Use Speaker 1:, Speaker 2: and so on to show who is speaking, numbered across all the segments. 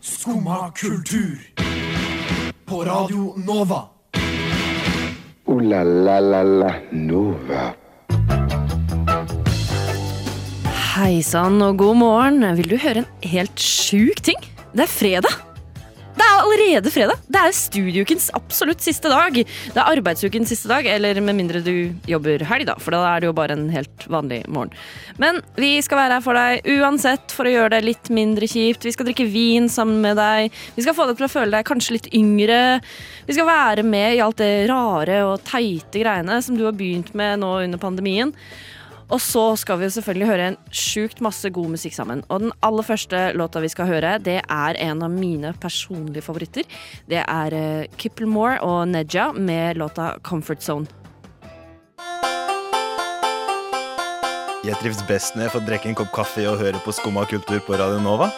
Speaker 1: Skumma kultur. På Radio Nova.
Speaker 2: Ooh la la la la Nova.
Speaker 3: Hei sann og god morgen. Vil du høre en helt sjuk ting? Det er fredag. Det er allerede fredag. Det er studieukens absolutt siste dag. Det er arbeidsukens siste dag, eller med mindre du jobber helg, da. For da er det jo bare en helt vanlig morgen. Men vi skal være her for deg uansett for å gjøre det litt mindre kjipt. Vi skal drikke vin sammen med deg. Vi skal få deg til å føle deg kanskje litt yngre. Vi skal være med i alt det rare og teite greiene som du har begynt med nå under pandemien. Og så skal vi jo selvfølgelig høre en sjukt masse god musikk sammen. Og den aller første låta vi skal høre, det er en av mine personlige favoritter. Det er eh, Kipplemore og Neja med låta Comfort Zone.
Speaker 4: Jeg trives best når jeg får drikke en kopp kaffe og høre på Skumma kultur på Radio Nova.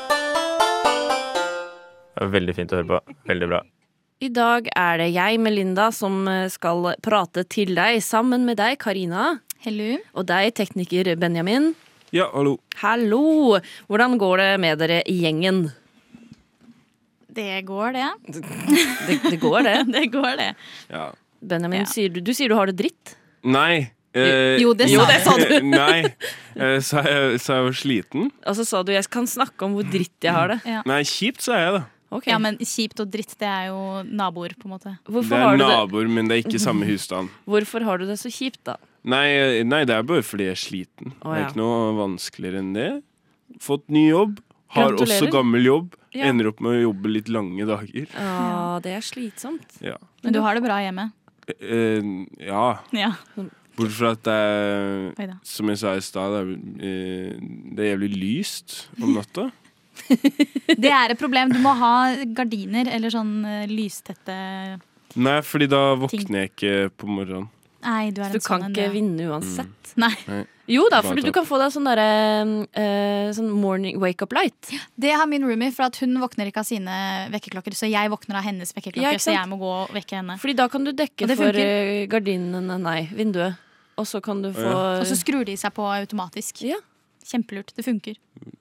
Speaker 5: Det er Veldig fint å høre på. Veldig bra.
Speaker 3: I dag er det jeg, Melinda, som eh, skal prate til deg sammen med deg, Karina.
Speaker 6: Hello.
Speaker 3: Og deg, tekniker Benjamin.
Speaker 5: Ja, hallo.
Speaker 3: Hallo! Hvordan går det med dere i gjengen?
Speaker 6: Det går, det.
Speaker 3: Det, det går, det.
Speaker 6: Det går, det.
Speaker 5: Ja.
Speaker 3: Benjamin,
Speaker 6: Ja.
Speaker 3: sier du, du sier du har det dritt.
Speaker 5: Nei. eh,
Speaker 6: Jo, det sa
Speaker 3: det sa du.
Speaker 5: Nei. eh, sa jeg, sa jeg var sliten?
Speaker 3: Og så Altså, sa du jeg kan snakke om hvor dritt jeg har det.
Speaker 5: Nei, kjipt sa jeg, da.
Speaker 3: Ok.
Speaker 6: Ja, men kjipt og dritt, det er jo naboer, på en måte.
Speaker 3: Hvorfor
Speaker 5: Det
Speaker 3: har,
Speaker 5: er
Speaker 3: du det,
Speaker 5: naboer, men det er ikke samme husstand.
Speaker 3: hvorfor har du det så kjipt, da?
Speaker 5: Nei, eh, nei, det er bare fordi jeg er sliten.
Speaker 3: Å,
Speaker 5: Det er
Speaker 3: ja.
Speaker 5: ikke noe vanskeligere enn det. Fått ny jobb. Har
Speaker 3: Gratulerer.
Speaker 5: også gammel jobb.
Speaker 3: Ja.
Speaker 5: Ender opp med å jobbe litt lange dager.
Speaker 3: Ja, det er slitsomt.
Speaker 5: Ja.
Speaker 6: Men du har det bra hjemme.
Speaker 5: Eh, ja.
Speaker 6: Ja.
Speaker 5: Bortsett fra at det er
Speaker 6: Oi da.
Speaker 5: Som jeg sa i stad, det, er, eh, det er jævlig lyst om natta.
Speaker 6: Det er et problem. Du må ha gardiner eller sånn eh, lystette
Speaker 5: Nei, fordi da våkner jeg ikke på morgenen.
Speaker 6: Nei, du er
Speaker 3: Du
Speaker 6: en
Speaker 3: kan
Speaker 6: sånn en,
Speaker 3: ikke
Speaker 6: du.
Speaker 3: vinne uansett.
Speaker 6: Nei.
Speaker 3: Jo da, for
Speaker 5: Mm. Bare
Speaker 3: du
Speaker 5: ta-
Speaker 3: kan få deg sånn derre eh, Sånn morning wake up light.
Speaker 6: Det har min roomie, for at hun våkner ikke av sine vekkerklokker. Så jeg våkner av hennes
Speaker 3: Ja,
Speaker 6: vekkerklokker,
Speaker 3: ikke
Speaker 6: så
Speaker 3: sant?
Speaker 6: jeg må gå og vekke henne.
Speaker 3: Fordi da kan du dekke
Speaker 6: Og det
Speaker 3: for
Speaker 6: funker.
Speaker 3: eh, gardinene, nei, vinduet. Og så kan du få
Speaker 6: Og så skrur de seg på automatisk.
Speaker 3: Ja.
Speaker 6: Kjempelurt. Det funker.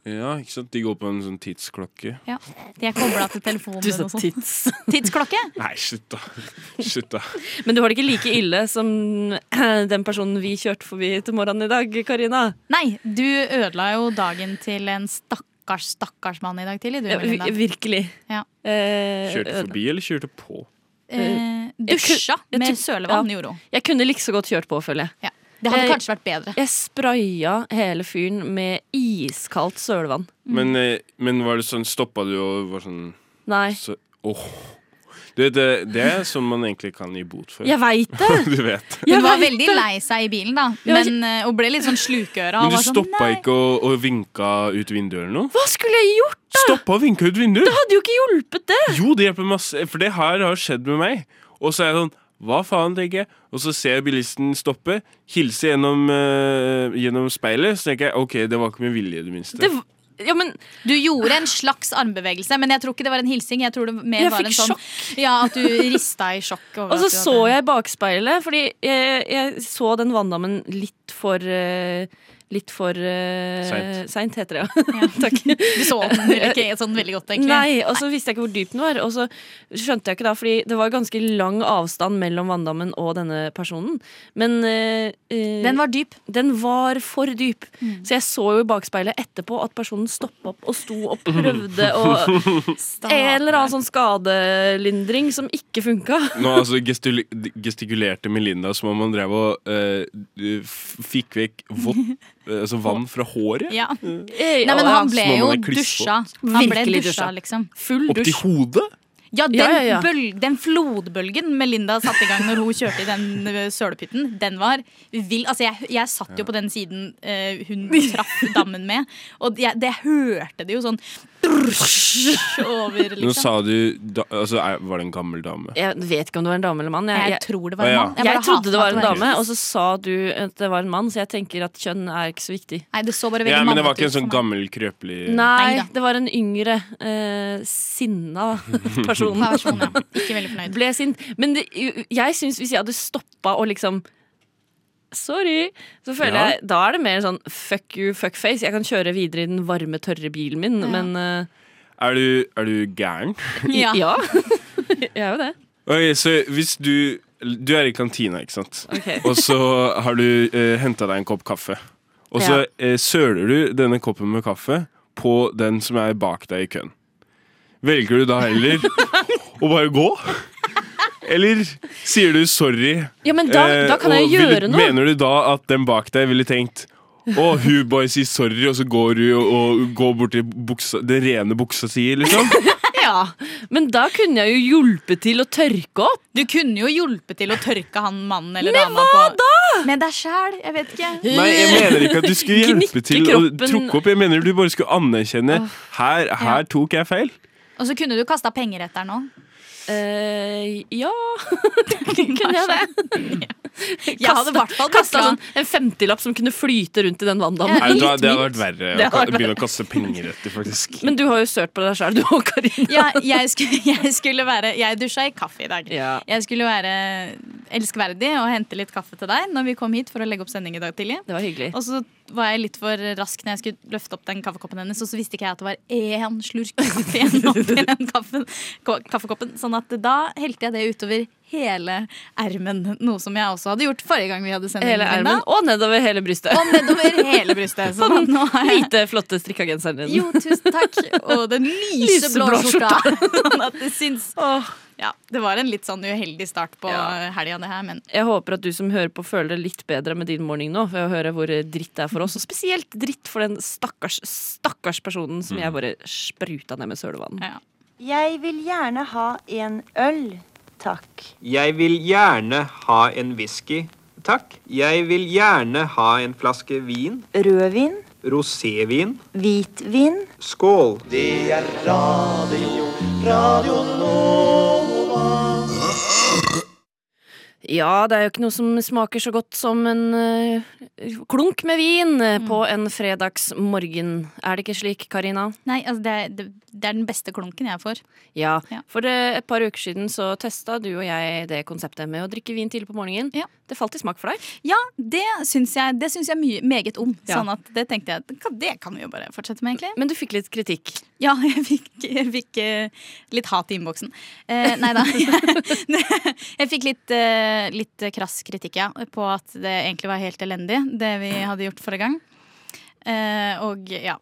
Speaker 5: Ja, ikke sant? De går på en sånn tidsklokke.
Speaker 6: Ja. De er kobla til telefonen.
Speaker 3: Du sa
Speaker 6: og sånn. sånt.
Speaker 3: tits.
Speaker 6: Tidsklokke!
Speaker 5: Nei, slutt, da. Slutt, da.
Speaker 3: Men du har det ikke like ille som eh, den personen vi kjørte forbi til morgenen i dag, Karina.
Speaker 6: Nei, du ødela jo dagen til en stakkars, stakkars mann i dag tidlig. Du,
Speaker 3: Ja, vi-
Speaker 6: Melinda.
Speaker 3: Eh, virkelig.
Speaker 6: Ja.
Speaker 3: Eh,
Speaker 5: Kjørte forbi, eller kjørte på?
Speaker 6: Eh,
Speaker 3: Jeg ku-
Speaker 6: dusja
Speaker 3: jeg
Speaker 6: med
Speaker 3: tror-
Speaker 6: sølevann
Speaker 3: ja.
Speaker 6: gjorde hun.
Speaker 3: Jeg kunne like så godt kjørt på, føler jeg.
Speaker 6: Ja. Det hadde
Speaker 3: Eh,
Speaker 6: kanskje vært bedre.
Speaker 3: Jeg spraya hele fyren med iskaldt sølevann.
Speaker 5: Men, eh, men var det sånn Stoppa du og var sånn
Speaker 3: Nei.
Speaker 5: så, Åh. Du vet, det, det er sånn man egentlig kan gi bot for.
Speaker 3: Jeg veit det!
Speaker 5: Du vet.
Speaker 3: Jeg
Speaker 6: Hun var
Speaker 3: vet
Speaker 6: veldig
Speaker 3: det.
Speaker 6: lei seg i bilen, da.
Speaker 3: Ja, men-
Speaker 6: Men, eh, hun ble litt sånn slukøra. og
Speaker 5: Men du
Speaker 6: var sånn,
Speaker 5: stoppa
Speaker 6: «Nei».
Speaker 5: ikke og, og vinka ut vinduet eller noe?
Speaker 3: Hva skulle jeg gjort?
Speaker 5: Stoppa og vinka ut
Speaker 3: Det
Speaker 5: vinduet!
Speaker 3: hadde jo ikke hjulpet det!
Speaker 5: Jo, det hjelper masse, for det her har skjedd med meg. Og så er jeg sånn Hva faen, tenker jeg. Og så ser jeg bilisten stoppe, hilse gjennom, eh, gjennom speilet, så tenker jeg OK, det var ikke med vilje, i det minste.
Speaker 3: det v- ja, men
Speaker 6: Du gjorde en slags armbevegelse, men jeg tror ikke det var en hilsing. Jeg tror det mer
Speaker 3: Jeg
Speaker 6: var en
Speaker 3: fikk
Speaker 6: sånn Ja, At du rista i sjokk. Over
Speaker 3: Og så
Speaker 6: at du
Speaker 3: så
Speaker 6: hadde-
Speaker 3: jeg i bakspeilet, fordi jeg, jeg så den vanndammen litt for eh, Litt for uh,
Speaker 5: Seint.
Speaker 3: Seint, heter det, ja. Takk.
Speaker 6: Du så den vel ikke sånn veldig godt, egentlig.
Speaker 3: Nei, og så visste jeg ikke hvor dyp den var. Og så skjønte jeg ikke da, fordi det var ganske lang avstand mellom vanndammen og denne personen. Men eh, eh,
Speaker 6: Den var dyp. Mm.
Speaker 3: den var for dyp. Så jeg så jo i bakspeilet etterpå at personen stoppa opp og sto og prøvde å En eller annen sånn skadelindring som ikke funka.
Speaker 5: Nå altså gestul- gestikulerte Melinda som om han drev og eh, f- fikk vekk vått, eh, altså vann fra håret.
Speaker 6: Ja. Nei,
Speaker 3: Eh,
Speaker 6: men
Speaker 3: og ja,
Speaker 6: han ble
Speaker 5: Som om
Speaker 6: jo
Speaker 5: han er klissvåt.
Speaker 6: dusja. Han ble
Speaker 3: Virkelig
Speaker 6: dusja,
Speaker 3: dusja.
Speaker 6: liksom.
Speaker 3: full
Speaker 5: Opp til
Speaker 3: dusj.
Speaker 5: hodet!
Speaker 6: Ja, den,
Speaker 3: Ja, ja, ja.
Speaker 6: Bølg, den flodbølgen Melinda satte i gang når hun kjørte i den ø, sølepytten, den var vill. Altså, jeg, jeg satt jo på den siden ø, hun traff dammen med, og jeg, det jeg hørte det jo sånn over,
Speaker 5: Nå
Speaker 6: liksom.
Speaker 5: sa du da, altså, er- Var det en gammel dame?
Speaker 3: Jeg vet ikke om det var en dame eller mann. Jeg,
Speaker 6: Jeg
Speaker 3: jeg,
Speaker 6: tror det var
Speaker 5: Å,
Speaker 6: en
Speaker 5: ja.
Speaker 6: mann.
Speaker 3: jeg,
Speaker 6: bare hater
Speaker 3: trodde det var
Speaker 6: at
Speaker 3: en dame,
Speaker 6: mann.
Speaker 3: og så sa du at det var en mann, så jeg tenker at kjønn er ikke så viktig.
Speaker 6: Nei, det så bare veldig
Speaker 5: Ja, men det var
Speaker 6: mannete
Speaker 5: ikke
Speaker 6: ut
Speaker 5: en sånn
Speaker 6: for meg.
Speaker 5: gammel, krøpelig
Speaker 3: Nei,
Speaker 6: Neida.
Speaker 3: det var en yngre, eh, sinna person.
Speaker 6: Person, ja. Ikke veldig fornøyd.
Speaker 3: Ble sint. Men det, jeg syns hvis jeg hadde stoppa og liksom Sorry! Så føler
Speaker 5: Ja.
Speaker 3: jeg, Da er det mer sånn fuck you, fuck face. Jeg kan kjøre videre i den varme, tørre bilen min, men eh,
Speaker 5: Er du, er du gæren?
Speaker 6: Ja.
Speaker 3: ja. Jeg er jo det.
Speaker 5: Ok, så hvis du Du er i kantina, ikke sant?
Speaker 3: Ok.
Speaker 5: Og så har du eh, henta deg en kopp kaffe. Og så
Speaker 3: Ja.
Speaker 5: eh, søler du denne koppen med kaffe på den som er bak deg i køen. Velger du da heller å bare gå? Eller sier du sorry?
Speaker 3: Ja, men da,
Speaker 5: eh,
Speaker 3: da kan jeg
Speaker 5: og
Speaker 3: jo
Speaker 5: vil-
Speaker 3: gjøre noe.
Speaker 5: Mener du da at den bak deg ville tenkt å, hun bare sier sorry, og så går hun og, og går bort til buksa, det rene buksa si, liksom?
Speaker 3: Ja, Men da kunne jeg jo hjulpet til å tørke opp.
Speaker 6: Du kunne jo hjulpet til å tørke han mannen eller
Speaker 3: Med
Speaker 6: dama på Med hva da?! Med deg sjæl. Jeg vet ikke.
Speaker 5: Nei, jeg mener ikke at du skulle hjelpe
Speaker 3: Gnikke
Speaker 5: til å
Speaker 3: kroppen.
Speaker 5: trukke opp. Jeg mener du bare skulle anerkjenne her, her tok jeg feil.
Speaker 6: Og så kunne du kasta penger etter han òg.
Speaker 3: Eh, ja Kunne jeg det?
Speaker 6: Jeg hadde i hvert fall
Speaker 3: Kasta
Speaker 6: kastet
Speaker 3: sånn en femtilapp som kunne flyte rundt i den vanndammen.
Speaker 5: Nei, da, det hadde vært verre
Speaker 3: Det
Speaker 5: å
Speaker 3: hadde
Speaker 5: ka-
Speaker 3: vært
Speaker 5: begynne å kaste penger etter, faktisk.
Speaker 3: Men du har jo sølt på deg sjøl, du òg, Karina.
Speaker 6: sånn, Ja, jeg, skulle, jeg skulle være Jeg dusja i kaffe i dag.
Speaker 3: Ja.
Speaker 6: Jeg skulle være elskverdig og hente litt kaffe til deg når vi kom hit for å legge opp sending i dag tidlig.
Speaker 3: Det var hyggelig.
Speaker 6: Og så var jeg litt for rask når jeg skulle løfte opp den kaffekoppen hennes, og så visste ikke jeg at det var én slurk kaffe igjen oppi den kaffen, ko- kaffekoppen. Sånn at da helte jeg det utover hele ermen, noe som jeg også hadde gjort forrige gang vi hadde sending.
Speaker 3: Hele
Speaker 6: Linda.
Speaker 3: ermen og nedover hele brystet.
Speaker 6: Og nedover hele brystet. Sånn Så nå har jeg
Speaker 3: Hvite, flotte strikkagenseren din.
Speaker 6: Jo, tusen takk. Og den lyseblå
Speaker 3: Lyseblå
Speaker 6: skjorta. Sånn at det syns.
Speaker 3: Åh,
Speaker 6: Ja, det var en litt sånn uheldig start på
Speaker 3: Ja.
Speaker 6: helga, det her, men
Speaker 3: Jeg håper at du som hører på, føler det litt bedre med din morning nå. Ved å høre hvor dritt det er for oss. Og spesielt dritt for den stakkars, stakkars personen
Speaker 5: Mm.
Speaker 3: som jeg bare spruta ned med sølevann.
Speaker 6: ja.
Speaker 7: Jeg vil gjerne ha en øl, takk.
Speaker 8: Jeg vil gjerne ha en whisky, takk. Jeg vil gjerne ha en flaske vin,
Speaker 7: Rødvin,
Speaker 8: rosévin,
Speaker 7: hvitvin.
Speaker 8: skål.
Speaker 3: Ja, det er jo ikke noe som smaker så godt som en eh, klunk med vin eh,
Speaker 6: Mm.
Speaker 3: på en fredagsmorgen. Er det ikke slik, Karina?
Speaker 6: Nei, altså det, er- det, det er den beste klunken jeg får.
Speaker 3: Ja.
Speaker 6: Ja.
Speaker 3: For eh, et par uker siden så testa du og jeg det konseptet med å drikke vin tidlig på morgenen.
Speaker 6: Ja.
Speaker 3: Det falt i smak for deg.
Speaker 6: Ja, det syns jeg, det syns jeg mye, meget om.
Speaker 3: Ja.
Speaker 6: Sånn at det tenkte jeg, det kan- det kan vi jo bare fortsette med, egentlig.
Speaker 3: Men du fikk litt kritikk.
Speaker 6: Ja, jeg fikk, jeg fikk eh, litt hat i innboksen. Eh, nei da. Jeg, jeg fikk litt, eh, litt krass kritikk, ja, på at det egentlig var helt elendig, det vi hadde gjort forrige gang. Eh, og ja.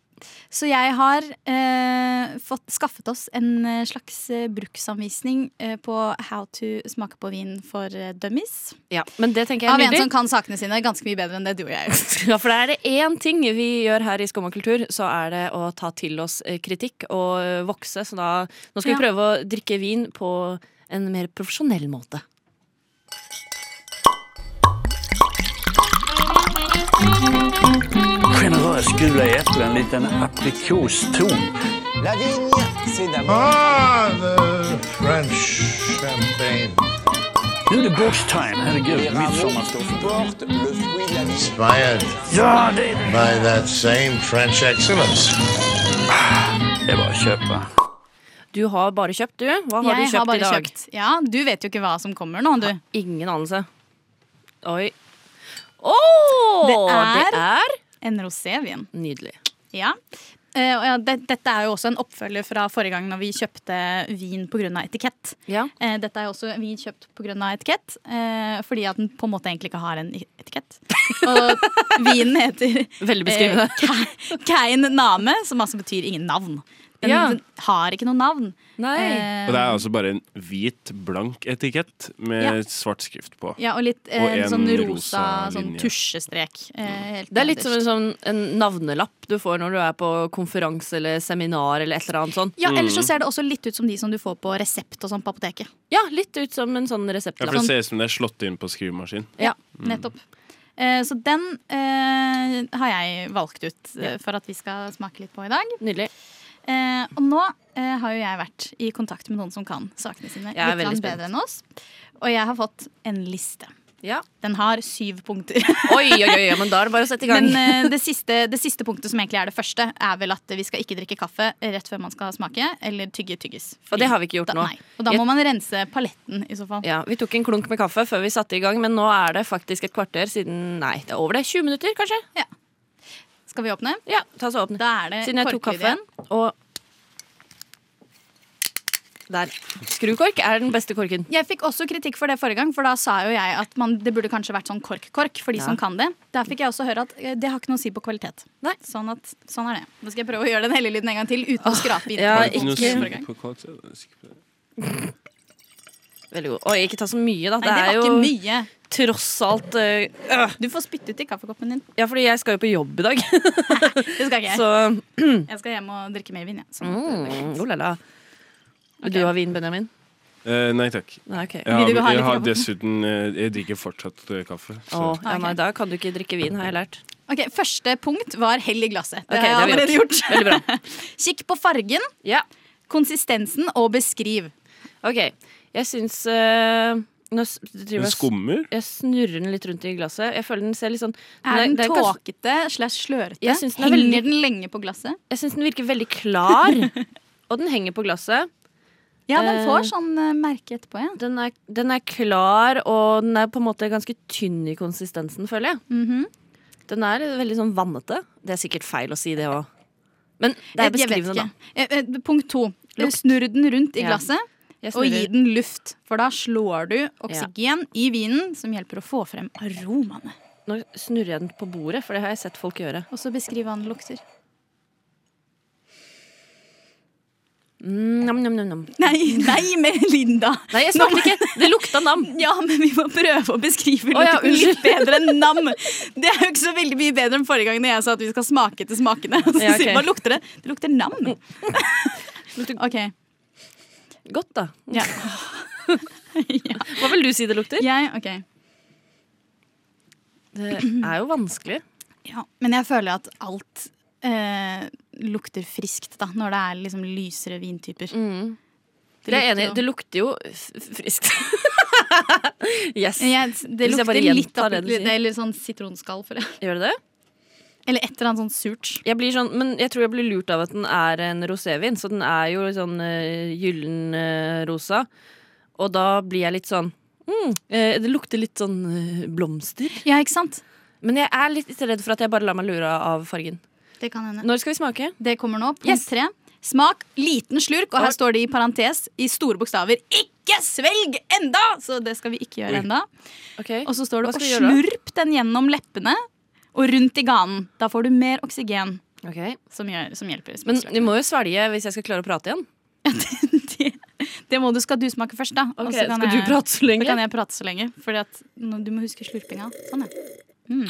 Speaker 6: Så jeg har eh, fått skaffet oss en eh, slags eh, bruksanvisning eh, på how to smake på vin for eh, dummies.
Speaker 3: Ja, Men det tenker jeg
Speaker 6: Av
Speaker 3: er
Speaker 6: en
Speaker 3: nydelig.
Speaker 6: som kan sakene sine ganske mye bedre enn det du og jeg gjør.
Speaker 3: Ja, for er det én ting vi gjør her i Skummakultur, så er det å ta til oss eh, kritikk og eh, vokse. Så da, nå skal vi
Speaker 6: Ja.
Speaker 3: prøve å drikke vin på en mer profesjonell måte.
Speaker 9: Generøst skulle jeg etter en liten aprikoston. Nå er det boxtime. Herregud, midsommerstoff.
Speaker 10: Inspired
Speaker 9: Ja, Ah, det er det.
Speaker 10: by that same French excellence.
Speaker 9: Det er bare å kjøpe.
Speaker 3: Du har bare kjøpt, du. Hva har
Speaker 6: jeg
Speaker 3: du kjøpt
Speaker 6: har bare
Speaker 3: i dag?
Speaker 6: kjøpt. Ja, du vet jo ikke hva som kommer nå, du.
Speaker 3: Ingen anelse. Oi. Å!
Speaker 6: Det er-
Speaker 3: det er
Speaker 6: En rosévin.
Speaker 3: nydelig.
Speaker 6: Ja. Eh, og ja, det, dette er jo også en oppfølger fra forrige gang når vi kjøpte vin pga. etikett.
Speaker 3: Ja.
Speaker 6: Eh, dette er jo også vin kjøpt pga. etikett, eh, fordi at den på en måte egentlig ikke har en etikett. Og vinen heter eh,
Speaker 3: Veldig beskrivende.
Speaker 6: Ke- Kein Name, som altså betyr ingen navn. Den
Speaker 3: Ja.
Speaker 6: har ikke noe navn. Eh,
Speaker 3: Nei.
Speaker 5: Og det er altså bare en hvit, blank etikett med
Speaker 6: Ja.
Speaker 5: svart skrift på.
Speaker 6: Ja, og litt eh,
Speaker 5: Og en
Speaker 6: en sånn rosa,
Speaker 5: rosa
Speaker 6: sånn
Speaker 5: linje.
Speaker 6: tusjestrek. Eh, helt
Speaker 3: Det er litt som en,
Speaker 6: nederst.
Speaker 3: sånn, en navnelapp du får når du er på konferanse eller seminar eller et eller annet sånt.
Speaker 6: Ja, Eller
Speaker 5: Mm.
Speaker 6: så ser det også litt ut som de som du får på resept og sånn på apoteket.
Speaker 3: Ja, litt ut som en sånn
Speaker 5: Ja,
Speaker 3: reseptlapp.
Speaker 5: for Det ser ut som det er slått inn på skrivemaskin.
Speaker 6: Ja,
Speaker 3: Mm.
Speaker 6: nettopp. Eh, Så den eh, har jeg valgt ut eh, for at vi skal smake litt på i dag.
Speaker 3: Nydelig.
Speaker 6: Eh, og nå eh, har jo jeg vært i kontakt med noen som kan sakene sine
Speaker 3: Jeg er
Speaker 6: litt
Speaker 3: veldig
Speaker 6: grann bedre enn oss. Og jeg har fått en liste.
Speaker 3: Ja.
Speaker 6: Den har syv punkter.
Speaker 3: Oi, oi, oi, ja, men da er det bare å sette i gang.
Speaker 6: Men eh, det, siste, det siste punktet, som egentlig er det første, er vel at vi skal ikke drikke kaffe rett før man skal smake, eller tygge tyggis.
Speaker 3: Og det har vi ikke gjort
Speaker 6: da,
Speaker 3: nå.
Speaker 6: Nei. Og da
Speaker 3: Jeg-
Speaker 6: må man rense paletten, i så fall.
Speaker 3: ja, vi tok en klunk med kaffe før vi satte i gang, men nå er det faktisk et kvarter siden Nei, det er over det. 20 minutter, kanskje?
Speaker 6: Skal vi åpne?
Speaker 3: Ja, ta så åpne.
Speaker 6: Da er det
Speaker 3: Siden jeg tok kaffen
Speaker 6: korkvideo.
Speaker 3: og Der. Skrukork er den beste korken.
Speaker 6: Jeg fikk også kritikk for det forrige gang, for da sa jo jeg at man, det burde kanskje vært sånn kork-kork for de
Speaker 3: Ja.
Speaker 6: som kan det. Der fikk jeg også høre at eh, det har ikke noe å si på kvalitet.
Speaker 3: Nei.
Speaker 6: Sånn, at, sånn er det. Nå skal jeg prøve å gjøre den hele lyden en gang til uten å skrape inn.
Speaker 3: ja,
Speaker 6: på
Speaker 5: Har du ikke noe
Speaker 3: ikke-
Speaker 5: syn
Speaker 6: forrige gang.
Speaker 5: på kort? Jeg er sikker på det.
Speaker 3: Veldig god. Oi, ikke ta så mye, da.
Speaker 6: Nei, det var
Speaker 3: er
Speaker 6: ikke
Speaker 3: jo
Speaker 6: mye.
Speaker 3: tross alt øh, øh.
Speaker 6: Du får spytte ut i kaffekoppen din.
Speaker 3: Ja, fordi jeg skal jo på jobb i dag,
Speaker 6: Det skal ikke jeg.
Speaker 3: så
Speaker 6: Jeg skal hjem og drikke mer vin. Ja. Sånn.
Speaker 3: mm, oh la la. Vil
Speaker 6: Ok.
Speaker 3: du ha vin, Benjamin?
Speaker 5: Eh, nei takk.
Speaker 3: Nei, ok.
Speaker 5: Jeg
Speaker 6: Vil du ha
Speaker 5: har, jeg
Speaker 6: litt
Speaker 5: har
Speaker 6: kaffe?
Speaker 5: dessuten eh, Jeg drikker fortsatt eh, kaffe. Så.
Speaker 3: Å, ja,
Speaker 6: Ok.
Speaker 3: nei, da kan du ikke drikke vin, har jeg lært.
Speaker 6: Ok, Første punkt var hell i glasset.
Speaker 3: Ok,
Speaker 6: Det har jeg
Speaker 3: det har vi
Speaker 6: allerede gjort.
Speaker 3: Veldig bra.
Speaker 6: Kikk på fargen,
Speaker 3: Ja,
Speaker 6: konsistensen og beskriv.
Speaker 3: ok. Jeg syns øh, Nå s- driver
Speaker 5: Den
Speaker 3: jeg og s-
Speaker 5: skummer.
Speaker 3: jeg snurrer den litt rundt i glasset. Jeg føler den ser litt sånn
Speaker 6: Er den
Speaker 3: det er ganske-
Speaker 6: tåkete slash slørete?
Speaker 3: Jeg synes den er
Speaker 6: Henger
Speaker 3: veldig-
Speaker 6: den lenge på glasset?
Speaker 3: Jeg syns den virker veldig klar, og den henger på glasset.
Speaker 6: Ja, den
Speaker 3: Eh.
Speaker 6: får sånn eh, merke etterpå, ja.
Speaker 3: Den er, den er klar, og den er på en måte ganske tynn i konsistensen, føler jeg.
Speaker 6: Mhm.
Speaker 3: Den er veldig sånn vannete. Det er sikkert feil å si det òg. Men det er
Speaker 6: Eh, jeg vet
Speaker 3: beskrivende, da.
Speaker 6: ikke. Eh, eh, Punkt to. Eh, Snurr den rundt i
Speaker 3: Ja.
Speaker 6: glasset
Speaker 3: Jeg
Speaker 6: og gi
Speaker 3: snurrer.
Speaker 6: den luft. For da slår du oksygen i vinen, som hjelper å få frem aromaene.
Speaker 3: Nå snurrer jeg den på bordet, for det har jeg sett folk gjøre.
Speaker 6: Og så beskriv hva den lukter.
Speaker 3: Mm, nam, nam, nam, nam.
Speaker 6: Nei, nei, Melinda!
Speaker 3: Nei, jeg smakte ikke! Det lukta nam.
Speaker 6: Ja, men vi må prøve å beskrive
Speaker 3: Å, ja,
Speaker 6: lukten litt bedre enn nam. Det er jo ikke så veldig mye bedre enn forrige gang når jeg sa at vi skal smake etter smakene. Og så
Speaker 3: Ja, ok.
Speaker 6: sier du, hva lukter det? Det lukter nam. Ok,
Speaker 3: Godt, da.
Speaker 6: ja.
Speaker 3: Hva vil du si det lukter?
Speaker 6: Jeg, ok.
Speaker 3: Det er jo vanskelig.
Speaker 6: Ja, men jeg føler at alt eh, lukter friskt da, når det er liksom lysere vintyper.
Speaker 3: Det er Mm. jeg enig i. Det
Speaker 6: lukter jo-
Speaker 3: lukter jo f- friskt. yes.
Speaker 6: jeg, det
Speaker 3: Hvis jeg
Speaker 6: lukter
Speaker 3: bare
Speaker 6: litt
Speaker 3: gjentar
Speaker 6: av
Speaker 3: det du sier.
Speaker 6: Eller sånn sitronskall, føler jeg.
Speaker 3: Gjør det det?
Speaker 6: Eller et eller annet sånn surt.
Speaker 3: Jeg blir sånn, men jeg tror jeg blir lurt av at den er en rosévin, så den er jo sånn uh, gyllen eh, rosa. Og da blir jeg litt sånn mm, eh, Det lukter litt sånn eh, blomster.
Speaker 6: Ja, ikke sant?
Speaker 3: Men jeg er litt redd for at jeg bare lar meg lure av fargen.
Speaker 6: Det kan hende.
Speaker 3: Når skal vi smake?
Speaker 6: Det kommer nå. Punkt
Speaker 3: Yes.
Speaker 6: tre. Smak liten slurk, og her
Speaker 3: Oi.
Speaker 6: står det i parentes i store bokstaver 'ikke svelg enda'! Så det skal vi ikke gjøre enda.
Speaker 3: Ok,
Speaker 6: Og så står det
Speaker 3: Hva
Speaker 6: 'og
Speaker 3: skal vi gjøre da?
Speaker 6: slurp den gjennom leppene og rundt i ganen'. Da får du mer oksygen
Speaker 3: Ok.
Speaker 6: som, gjør, som hjelper.
Speaker 3: Men
Speaker 6: smaksløkene.
Speaker 3: du må jo svelge hvis jeg skal klare å prate igjen.
Speaker 6: det, det må du, skal du smake først, da. Og
Speaker 3: Ok,
Speaker 6: så kan
Speaker 3: Altså, Skal
Speaker 6: jeg-
Speaker 3: du prate så
Speaker 6: Så kan
Speaker 3: lenge?
Speaker 6: jeg prate så lenge. Fordi at nå- Du må huske slurpinga. Sånn, ja. Mm.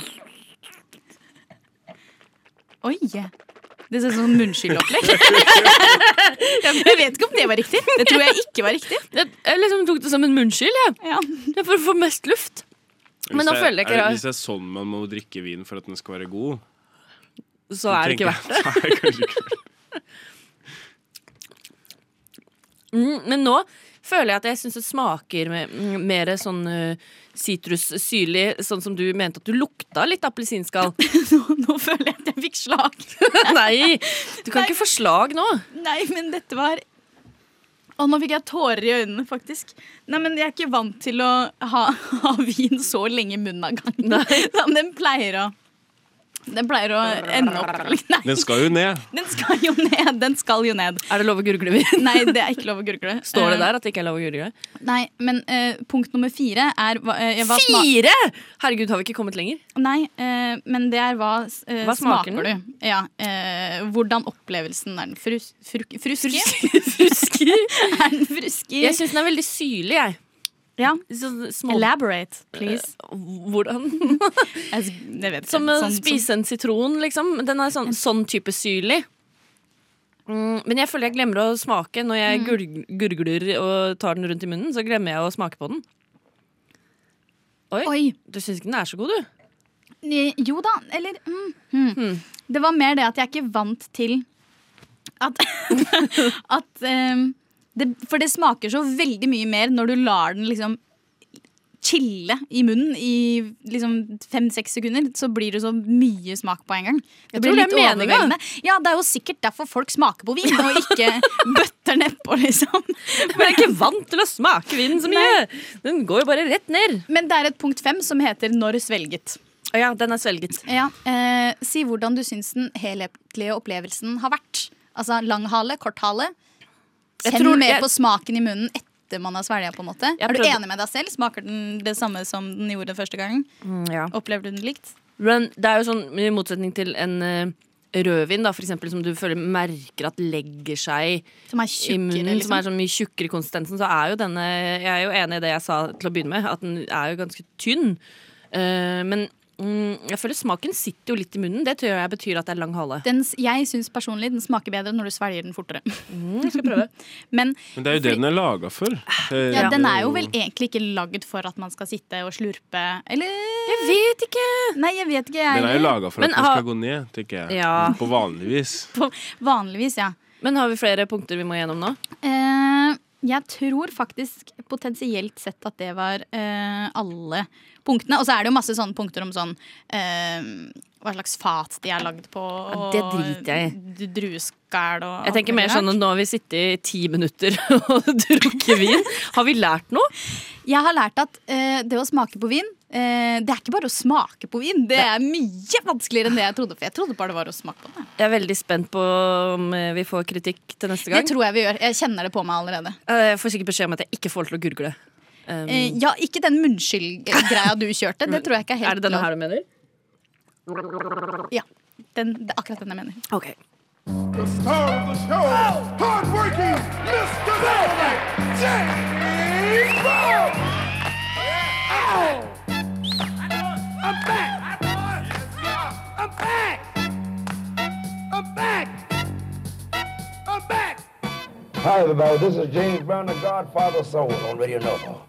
Speaker 6: Oi! Det ser ut som sånn munnskyllopplegg. jeg vet ikke om det var riktig. Det tror jeg ikke var riktig.
Speaker 3: Jeg, jeg liksom tok det som en munnskyld, jeg.
Speaker 6: Ja.
Speaker 3: jeg. For å få mest luft. Men nå
Speaker 5: Hvis
Speaker 3: føler jeg ikke
Speaker 5: er,
Speaker 3: det.
Speaker 5: Hvis det er sånn man må drikke vin for at den skal være god
Speaker 3: Så er det ikke verdt
Speaker 5: verdt det.
Speaker 3: Mm, Men nå føler jeg at jeg syns det smaker med- mm, mer sånn eh, sitrussyrlig, sånn som du mente at du lukta litt appelsinskall.
Speaker 6: Nå, nå føler jeg at jeg fikk slag.
Speaker 3: Nei! Du kan ikke få slag nå.
Speaker 6: Nei, men dette var Å, nå fikk jeg tårer i øynene, faktisk. Nei, men Jeg er ikke vant til å ha, ha vin så lenge i munnen av gangen. Sånn, Den pleier å Den pleier å ende opp Nei,
Speaker 5: Den skal jo ned.
Speaker 6: den skal jo ned! Den skal jo ned.
Speaker 3: Er det lov å gurgle vin?
Speaker 6: Nei, det er ikke lov å gurgle.
Speaker 3: Står det
Speaker 6: Eh,
Speaker 3: der at det ikke er lov å gurgle?
Speaker 6: Nei, men eh, punkt nummer fire er hva, eh, hva sma-
Speaker 3: Fire! Herregud, har vi ikke kommet lenger?
Speaker 6: Nei, eh, men det er hva, eh,
Speaker 3: Hva smaker
Speaker 6: smaker du? Ja, eh, hvordan opplevelsen er den? Frus, fruk, fruski?
Speaker 3: Frusker.
Speaker 6: er den fruski?
Speaker 3: Jeg syns den er veldig syrlig, jeg.
Speaker 6: Ja.
Speaker 3: Sånn små
Speaker 6: Elaborate, please.
Speaker 3: Hvordan?
Speaker 6: Jeg, s- jeg vet ikke.
Speaker 3: eh, Som å
Speaker 6: Sånn-
Speaker 3: spise en sitron, liksom. Den er sånn, sånn type syrlig. Mm, men jeg føler jeg glemmer å smake når jeg gurg- gurgler og tar den rundt i munnen. Så glemmer jeg å smake på den. Oi,
Speaker 6: som, Oi.
Speaker 3: du syns ikke den er så god, du?
Speaker 6: Eh, Jo da, eller mm, mm.
Speaker 3: Hmm.
Speaker 6: Det var mer det at jeg er ikke vant til at, at ehm, det, For det smaker så veldig mye mer når du lar den liksom chille i munnen i liksom fem-seks sekunder. Så blir det så mye smak på en gang. Det
Speaker 3: Jeg
Speaker 6: blir
Speaker 3: tror det er
Speaker 6: litt
Speaker 3: meningen.
Speaker 6: overveldende. Ja, det er jo sikkert derfor folk smaker på vin, og ikke bøtter nedpå, liksom.
Speaker 3: Men jeg er ikke vant til å smake vinen så mye! Den går jo bare rett ned.
Speaker 6: Men det er et punkt fem som heter 'når svelget'.
Speaker 3: Å ja, den er svelget.
Speaker 6: Ja, eh, Si hvordan du syns den helhetlige opplevelsen har vært. Altså lang hale, kort hale.
Speaker 3: Jeg
Speaker 6: Kjenn
Speaker 3: tror-
Speaker 6: mer
Speaker 3: jeg-
Speaker 6: på smaken i munnen etter man har svelget, på en måte.
Speaker 3: Jeg
Speaker 6: Er du
Speaker 3: prøvde-
Speaker 6: enig med deg selv? Smaker den det samme som den gjorde første gangen?
Speaker 3: Mm, ja.
Speaker 6: Opplever du den likt?
Speaker 3: Men det er jo sånn, i motsetning til en eh, rødvin, da, for eksempel, som du føler merker at legger seg
Speaker 6: Som er
Speaker 3: i munnen,
Speaker 6: tjukkere,
Speaker 3: som er
Speaker 6: liksom?
Speaker 3: sånn mye tjukkere i konsistensen, så er jo denne Jeg er jo enig i det jeg sa til å begynne med, at den er jo ganske tynn. Eh, men mm, jeg føler smaken sitter jo litt i munnen. Det tror jeg betyr at det er lang hale.
Speaker 6: Den, s- jeg syns personlig den smaker bedre når du svelger den fortere.
Speaker 3: Mm, skal prøve.
Speaker 6: Men
Speaker 5: Men det er jo det den er laga for. Det-
Speaker 6: ja, den
Speaker 5: det
Speaker 6: er jo vel egentlig ikke lagd for at man skal sitte og slurpe, eller
Speaker 3: Jeg vet ikke!
Speaker 6: Nei, jeg vet ikke. Jeg
Speaker 5: Den er jo laga for
Speaker 3: Men
Speaker 5: at den
Speaker 3: ha-
Speaker 5: skal gå ned, tenker jeg.
Speaker 3: Ja.
Speaker 5: På vanlig vis.
Speaker 6: Vanligvis, ja.
Speaker 3: Men har vi flere punkter vi må gjennom nå?
Speaker 6: Eh, jeg tror faktisk potensielt sett at det var eh, alle punktene. Og så er det jo masse sånne punkter om sånn eh, hva slags fat de er lagd på.
Speaker 3: Ja, det driter jeg i.
Speaker 6: i. Drueskall og
Speaker 3: Jeg
Speaker 6: alt
Speaker 3: tenker
Speaker 6: mulig
Speaker 3: mer sånn
Speaker 6: rart.
Speaker 3: at Nå har vi sittet i ti minutter og drukket vin. Har vi lært noe? sånn-
Speaker 6: Jeg har lært at eh, det å smake på vin eh, Det er ikke bare å smake på vin. Det er mye vanskeligere enn det jeg trodde. For jeg trodde bare det var å smake på det.
Speaker 3: Jeg er veldig spent på om eh, vi får kritikk til neste
Speaker 6: Det
Speaker 3: gang.
Speaker 6: tror jeg vi gjør. Jeg kjenner det på meg allerede.
Speaker 3: Eh, Jeg får sikkert beskjed om at jeg ikke får til å gurgle. Um,
Speaker 6: Eh, ja, ikke den munnskyld-greia du kjørte. Det tror jeg ikke er helt
Speaker 3: er det denne
Speaker 6: lov.
Speaker 3: her du mener?
Speaker 6: Ja, den, det er akkurat den jeg mener.
Speaker 3: Ok.
Speaker 10: Hi, everybody. This is James Brown, the Godfather of Soul, on Radio Nova.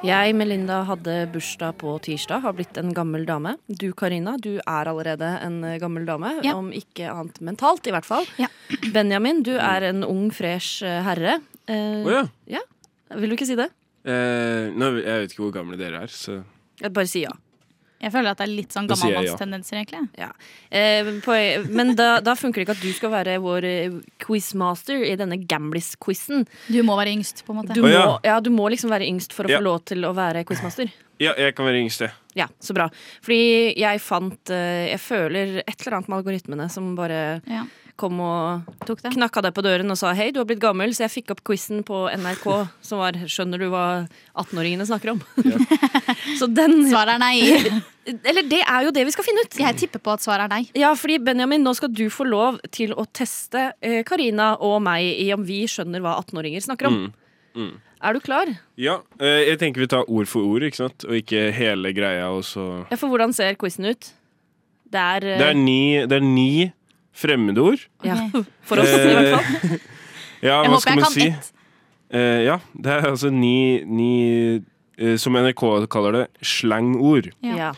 Speaker 3: Jeg, Melinda, hadde bursdag på tirsdag, har blitt en gammel dame. Du, Karina, du er allerede en eh, gammel dame,
Speaker 6: Ja.
Speaker 3: om ikke annet mentalt, i hvert fall.
Speaker 6: Ja.
Speaker 3: Benjamin, du er en ung, fresh eh, herre. Eh,
Speaker 5: Å ja.
Speaker 3: Vil du ikke si det?
Speaker 5: Eh, nå, jeg vet ikke hvor gamle dere er, så
Speaker 3: Jeg bare si ja.
Speaker 6: Jeg føler at det er litt sånn
Speaker 5: Da sier jeg ja.
Speaker 6: gammelmannstendenser, egentlig.
Speaker 3: ja. Eh, poe- men da, da funker det ikke at du skal være vår eh, quizmaster i denne Gamblis-quizen.
Speaker 6: Du må være yngst, på en måte.
Speaker 3: Du,
Speaker 5: Å
Speaker 3: må-
Speaker 5: ja.
Speaker 3: ja, du må liksom være yngst for å
Speaker 5: Ja.
Speaker 3: få lov til å være quizmaster.
Speaker 5: Ja, jeg kan være yngste.
Speaker 3: Ja, så bra. Fordi jeg fant eh, Jeg føler et eller annet med algoritmene som bare
Speaker 6: Ja.
Speaker 3: kom og
Speaker 6: Tok det.
Speaker 3: knakka deg på døren og sa hei, du har blitt gammel, så jeg fikk opp quizen på NRK som var skjønner du hva 18-åringene snakker om? så den
Speaker 6: Svaret er nei.
Speaker 3: Eller det er jo det vi skal finne ut.
Speaker 6: Jeg tipper på at svaret er nei.
Speaker 3: Ja, fordi Benjamin, nå skal du få lov til å teste eh, Karina og meg i om vi skjønner hva 18-åringer snakker om.
Speaker 5: Mm.
Speaker 3: Er du klar?
Speaker 5: Ja, eh, jeg tenker vi tar ord for ord, ikke sant? Og ikke hele greia, og så
Speaker 3: Ja, For hvordan ser quizen ut? Det er, eh,
Speaker 5: Det er ni, det er ni fremmedord.
Speaker 3: ja, For oss, i hvert fall.
Speaker 5: Ja,
Speaker 6: Jeg
Speaker 5: hva
Speaker 6: håper
Speaker 5: skal
Speaker 6: jeg
Speaker 5: man
Speaker 6: kan
Speaker 5: si?
Speaker 6: ett.
Speaker 5: Eh, ja, det er altså ni, ni eh, som NRK kaller det, slangord.
Speaker 6: Ja.
Speaker 3: Ja.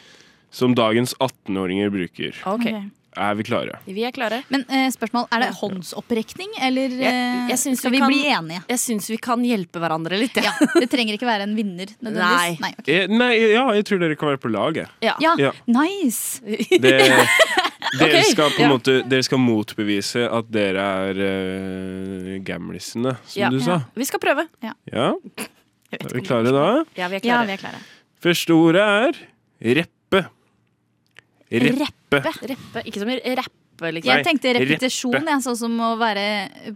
Speaker 5: Som dagens 18-åringer bruker.
Speaker 3: Ok,
Speaker 6: Ok.
Speaker 5: Er vi klare?
Speaker 3: vi er klare.
Speaker 6: Men eh, spørsmål, er det håndsopprekning, eller
Speaker 3: Jeg- jeg
Speaker 6: eh,
Speaker 3: syns
Speaker 6: skal
Speaker 3: vi
Speaker 6: vi
Speaker 3: kan-
Speaker 6: bli enige?
Speaker 3: Jeg syns vi kan hjelpe hverandre litt.
Speaker 6: Ja, Det trenger ikke være en vinner. nødvendigvis.
Speaker 3: Nei.
Speaker 6: Nei, ok.
Speaker 5: Eh, nei, ja, jeg tror dere kan være på laget.
Speaker 3: Ja.
Speaker 6: Ja,
Speaker 5: Ja.
Speaker 6: nice!
Speaker 5: Det, dere
Speaker 3: Ok,
Speaker 5: skal på
Speaker 3: ja.
Speaker 5: en måte Dere skal motbevise at dere er uh, gamlisene, som
Speaker 3: Ja.
Speaker 5: du sa.
Speaker 3: Vi skal prøve.
Speaker 5: Ja.
Speaker 6: Jeg vet
Speaker 5: Er vi
Speaker 6: ikke om-
Speaker 5: klare da?
Speaker 3: Ja, vi er
Speaker 6: Ja,
Speaker 3: klare.
Speaker 6: vi er klare.
Speaker 5: Første ordet er reppe. Reppe.
Speaker 3: Reppe. Ikke som rappe, liksom.
Speaker 6: Jeg tenkte
Speaker 5: reppe.
Speaker 6: repetisjon, jeg, sånn som å være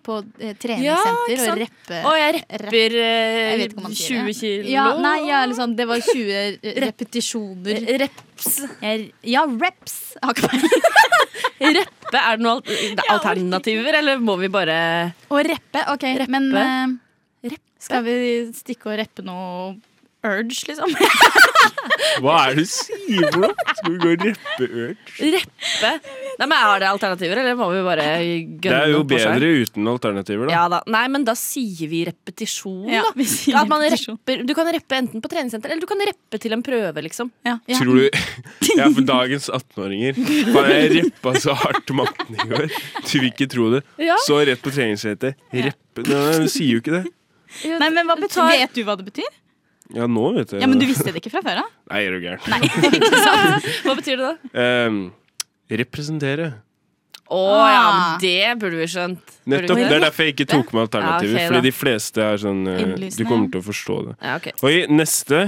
Speaker 6: på eh,
Speaker 3: ikke
Speaker 6: treningssenter
Speaker 3: sant?
Speaker 6: og reppe.
Speaker 3: Å, jeg repper eh,
Speaker 6: Jeg vet ikke om man sier
Speaker 3: 20
Speaker 6: det.
Speaker 3: kilo.
Speaker 6: Ja, nei, ja, liksom, det var 20 repetisjoner.
Speaker 3: Reps.
Speaker 6: Jeg, ja, reps. Har ikke peiling.
Speaker 3: Reppe, er det noen al- det er alternativer, eller må vi bare
Speaker 6: Og reppe, ok. Men eh,
Speaker 3: Reppe?
Speaker 6: skal vi stikke og reppe noe urge, liksom?
Speaker 5: Hva er det du sier for noe? Skal vi gå reppeørt?
Speaker 3: Reppe? Nei, men Er det alternativer, eller må vi bare
Speaker 5: Det
Speaker 3: gønne
Speaker 5: er jo
Speaker 3: noe på selv?
Speaker 5: bedre uten alternativer, da.
Speaker 3: Ja da. Nei, men da sier vi repetisjon,
Speaker 6: Ja,
Speaker 3: da.
Speaker 6: vi sier
Speaker 3: At man
Speaker 6: repetisjon.
Speaker 3: repper, du kan reppe enten på treningssenter eller du kan reppe til en prøve. liksom
Speaker 6: Ja, ja.
Speaker 5: Tror du Ja, for dagens 18-åringer. Faen, jeg reppa så hardt om 18 i går. Du vil ikke tro det.
Speaker 3: Ja.
Speaker 5: Så rett på treningssete. Reppe Nei, nei, du sier jo ikke det.
Speaker 6: Nei, men hva betyr,
Speaker 3: tar-
Speaker 6: Vet du hva det betyr?
Speaker 5: Ja, nå vet jeg
Speaker 6: Ja, Men du
Speaker 5: det.
Speaker 6: visste det ikke fra før av?
Speaker 5: Nei, er du gæren.
Speaker 6: Nei, ikke sant?
Speaker 3: Hva betyr det da?
Speaker 5: Ehm, representere.
Speaker 3: Å ja, men det burde vi skjønt. Burde
Speaker 5: Nettopp,
Speaker 3: vi ikke
Speaker 5: Det er derfor jeg ikke tok med
Speaker 3: Ja, ok,
Speaker 5: alternativer.
Speaker 3: da.
Speaker 5: fordi de fleste er sånn eh, Du
Speaker 6: Innlysende,
Speaker 5: kommer
Speaker 6: ja.
Speaker 5: til å forstå det.
Speaker 3: Ja, ok.
Speaker 5: Og i neste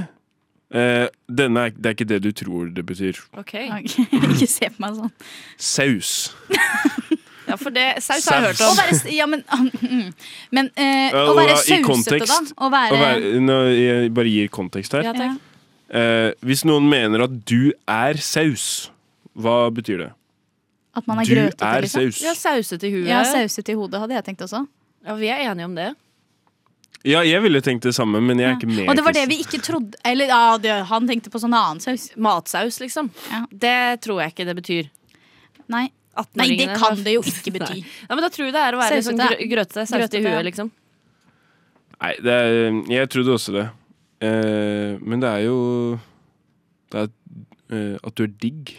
Speaker 5: eh, Denne er, det er ikke det du tror det betyr.
Speaker 3: Ok.
Speaker 6: Ok, Ikke se på meg sånn.
Speaker 5: Saus.
Speaker 3: Ja, for det, saus har jeg hørt
Speaker 6: Å
Speaker 3: om.
Speaker 6: være, s- ja, men mm, men eh,
Speaker 5: Ja,
Speaker 6: å
Speaker 5: og
Speaker 6: være
Speaker 5: da, i
Speaker 6: sausete, da?
Speaker 5: kontekst,
Speaker 6: Å være,
Speaker 5: Og vær- nå, jeg bare gir kontekst her.
Speaker 3: Ja, takk.
Speaker 5: Eh, hvis noen mener at du er saus, hva betyr det?
Speaker 6: At man er
Speaker 5: Du
Speaker 6: grøtete,
Speaker 5: er
Speaker 6: liksom.
Speaker 5: saus.
Speaker 3: Vi har sausete i huet.
Speaker 6: Ja, sausete i hodet hadde jeg tenkt også.
Speaker 3: Ja, vi er enige om det.
Speaker 5: Ja, jeg ville tenkt det samme, men jeg er ikke med.
Speaker 6: Og det var det
Speaker 5: Kristin.
Speaker 6: vi ikke trodde Eller ja, det, han tenkte på sånn annen saus.
Speaker 3: Matsaus, liksom.
Speaker 6: Ja.
Speaker 3: Det tror jeg ikke det betyr.
Speaker 6: Nei. Nei, det kan det jo ikke bety.
Speaker 3: Ja, men da tror jeg det er å være
Speaker 6: Sausete,
Speaker 3: sånn grø grøtete, sausete i
Speaker 6: Grøtete, ja.
Speaker 3: huet, liksom.
Speaker 5: Nei, det er, jeg trodde også det. Eh, men det er jo Det er eh, at du er digg.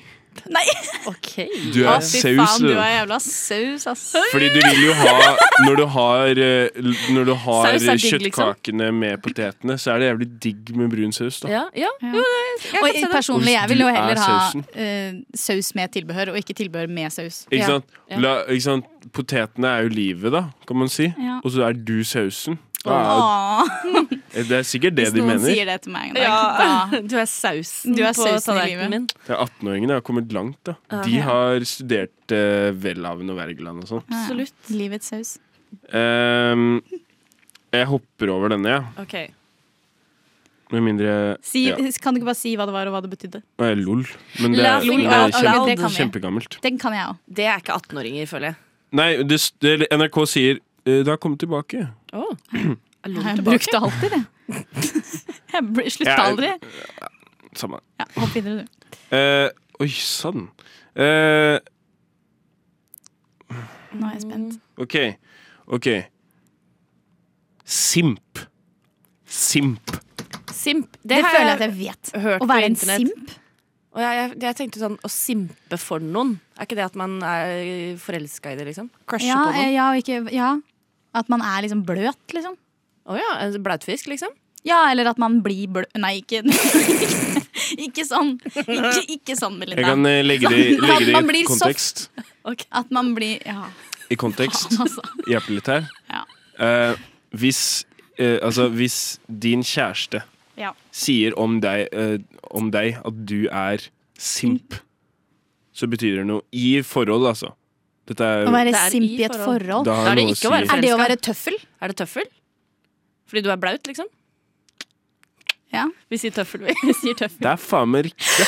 Speaker 6: Nei,
Speaker 3: Ok.
Speaker 5: Du er
Speaker 6: å, fy
Speaker 5: saus.
Speaker 6: faen, du
Speaker 5: du.
Speaker 6: er jævla saus, ass.
Speaker 5: Fordi du vil jo ha Når du har, eh, l- når du har
Speaker 3: Saus er digg, liksom.
Speaker 5: kjøttkakene med potetene, så er det jævlig digg med brun saus, da.
Speaker 3: Ja, ja. Jo, det, jeg
Speaker 6: Og
Speaker 3: kan se det.
Speaker 6: personlig, jeg vil jo
Speaker 5: Og hvis du
Speaker 6: heller
Speaker 5: er
Speaker 6: ha
Speaker 5: sausen.
Speaker 6: eh, saus med tilbehør, og ikke tilbehør med saus.
Speaker 5: Ikke
Speaker 3: Ja,
Speaker 5: sant?
Speaker 3: ja.
Speaker 5: La, ikke sant? Potetene er jo livet, da, kan man si.
Speaker 6: Ja.
Speaker 5: Og så er du sausen. Da
Speaker 6: Åh,
Speaker 5: er jo- eh, Det er sikkert det
Speaker 6: hvis
Speaker 5: de
Speaker 6: noen
Speaker 5: mener.
Speaker 6: sier det til meg en dag, da
Speaker 3: Du er sausen,
Speaker 6: Du er
Speaker 3: på
Speaker 6: sausen i livet.
Speaker 3: tallerkenen min.
Speaker 5: Ja, 18-åringene har kommet langt. da De har studert eh, Welhaven og Wergeland og sånn.
Speaker 3: Absolutt.
Speaker 6: Livets saus.
Speaker 5: Ehm, jeg hopper over denne, jeg.
Speaker 3: Ok.
Speaker 5: Med mindre
Speaker 6: Si,
Speaker 5: ja.
Speaker 6: Kan du ikke bare si hva det var, og hva det betydde?
Speaker 5: Nei, lol. Men det er,
Speaker 3: Laughing
Speaker 5: det
Speaker 3: out
Speaker 5: er
Speaker 3: loud,
Speaker 5: kjempe,
Speaker 6: det kan vi.
Speaker 5: kjempegammelt.
Speaker 6: Den kan jeg òg.
Speaker 3: Det er ikke 18-åringer, føler jeg.
Speaker 5: Nei, det, s- det, NRK sier eh, det har kommet tilbake.
Speaker 3: Oh.
Speaker 6: Jeg brukte alltid det. Jeg br- slutta
Speaker 5: Jeg-
Speaker 6: aldri.
Speaker 5: Samme.
Speaker 6: Ja, Hopp videre, du.
Speaker 5: Eh, oi sann. Eh,
Speaker 6: Nå er jeg spent.
Speaker 5: OK, OK. Simp. Simp.
Speaker 3: Simp. Det,
Speaker 6: Det,
Speaker 3: har
Speaker 6: føler jeg at jeg vet.
Speaker 3: hørt
Speaker 6: Å
Speaker 3: på
Speaker 6: være en
Speaker 3: internett.
Speaker 6: simp?
Speaker 3: Og jeg, jeg, jeg tenkte sånn, å simpe for noen. Er ikke det at man er forelska i det, liksom? Crushe
Speaker 6: Ja,
Speaker 3: på
Speaker 6: eh,
Speaker 3: noen.
Speaker 6: ja, og ikke, ja. At man er liksom bløt, liksom.
Speaker 3: Å ja, en blautfisk, liksom?
Speaker 6: Ja, eller at man blir blø... Nei, ikke Ikke sånn. Ikke, ikke sånn,
Speaker 5: Jeg
Speaker 6: Melinda.
Speaker 5: kan eh, legge det, i-
Speaker 6: Sånn,
Speaker 5: legge
Speaker 6: man
Speaker 5: det i
Speaker 6: blir soft.
Speaker 5: kontekst.
Speaker 6: At man blir Ja,
Speaker 5: I kontekst.
Speaker 6: altså.
Speaker 5: Hjelpe litt her.
Speaker 6: Ja.
Speaker 5: Eh, hvis, eh, altså, hvis din kjæreste
Speaker 6: Ja.
Speaker 5: sier om deg, eh, om deg at du er simp, så betyr det noe i forhold, altså. Dette er
Speaker 6: Å være
Speaker 3: Det er
Speaker 6: simp
Speaker 3: i
Speaker 6: i et
Speaker 3: forhold.
Speaker 6: forhold.
Speaker 5: har
Speaker 3: Da er det
Speaker 5: noe
Speaker 3: ikke å være
Speaker 6: Er det å være tøffel?
Speaker 3: Er det tøffel? Fordi du er blaut, liksom?
Speaker 6: Ja.
Speaker 3: Vi sier tøffel, vi. vi sier tøffel.
Speaker 5: Det er faen meg riktig.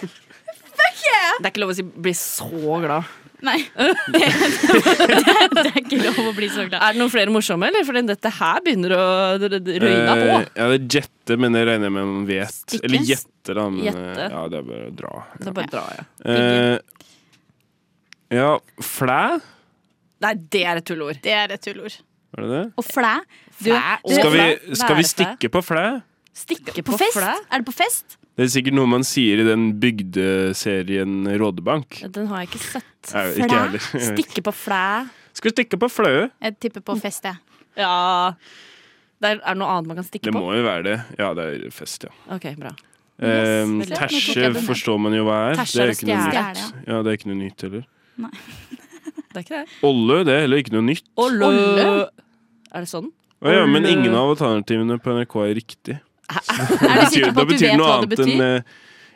Speaker 3: Det er ikke lov å si 'bli så glad'.
Speaker 6: Nei. Det, det, er ikke lov å bli så glad.
Speaker 3: Er det noen flere morsomme, eller? For dette her begynner å r- r- røyne på.
Speaker 5: Eh, ja, det er jette, men det regner jeg med man vet.
Speaker 6: Stikkes?
Speaker 5: Eller jette, da. Men, eh,
Speaker 3: Jette.
Speaker 5: Ja, det er bare å dra.
Speaker 3: Så bare drar jeg.
Speaker 5: Eh, ja, flæ?
Speaker 3: Nei, det er et tullord.
Speaker 6: Det er et tullord.
Speaker 5: Er det det?
Speaker 6: Og flæ. Du-
Speaker 3: Flæ og-
Speaker 5: Skal
Speaker 3: Flæ?
Speaker 5: vi, skal
Speaker 3: Hva er
Speaker 5: vi
Speaker 3: det flæ?
Speaker 5: stikke på flæ?
Speaker 3: Stikke
Speaker 6: På fest? Er det på fest?
Speaker 5: Det er sikkert noe man sier i den bygdeserien Rådebank.
Speaker 3: Den har jeg ikke sett.
Speaker 5: Nei, ikke
Speaker 6: Flæ?
Speaker 5: heller. Jeg vet.
Speaker 3: Stikke på flæ.
Speaker 5: Skal vi stikke på fløe?
Speaker 6: Jeg tipper på fest, jeg.
Speaker 3: Ja Det er, er det noe annet man kan stikke
Speaker 5: Det
Speaker 3: på?
Speaker 5: må jo være det. Ja, det er fest, ja.
Speaker 3: Ok, bra
Speaker 5: Ehm,
Speaker 3: veldig bra.
Speaker 6: Nå tok jeg
Speaker 5: Terse
Speaker 6: den her.
Speaker 5: forstår man jo hva er.
Speaker 3: Terse
Speaker 5: Det
Speaker 3: er å
Speaker 5: er jo ikke noe
Speaker 3: stjele.
Speaker 5: nytt.
Speaker 6: Stjele,
Speaker 5: Ja, det er ikke noe nytt heller.
Speaker 3: Det er ikke det.
Speaker 5: Olle, det er heller ikke noe nytt.
Speaker 3: Olle.
Speaker 6: Olle.
Speaker 3: Er det sånn?
Speaker 5: Å ja, men
Speaker 3: Olle.
Speaker 5: ingen av alternativene på NRK er riktig.
Speaker 6: Er du sikker
Speaker 5: da
Speaker 6: på at du
Speaker 5: betyr
Speaker 6: vet
Speaker 5: noe
Speaker 6: hva
Speaker 5: annet
Speaker 6: det betyr?
Speaker 5: enn eh,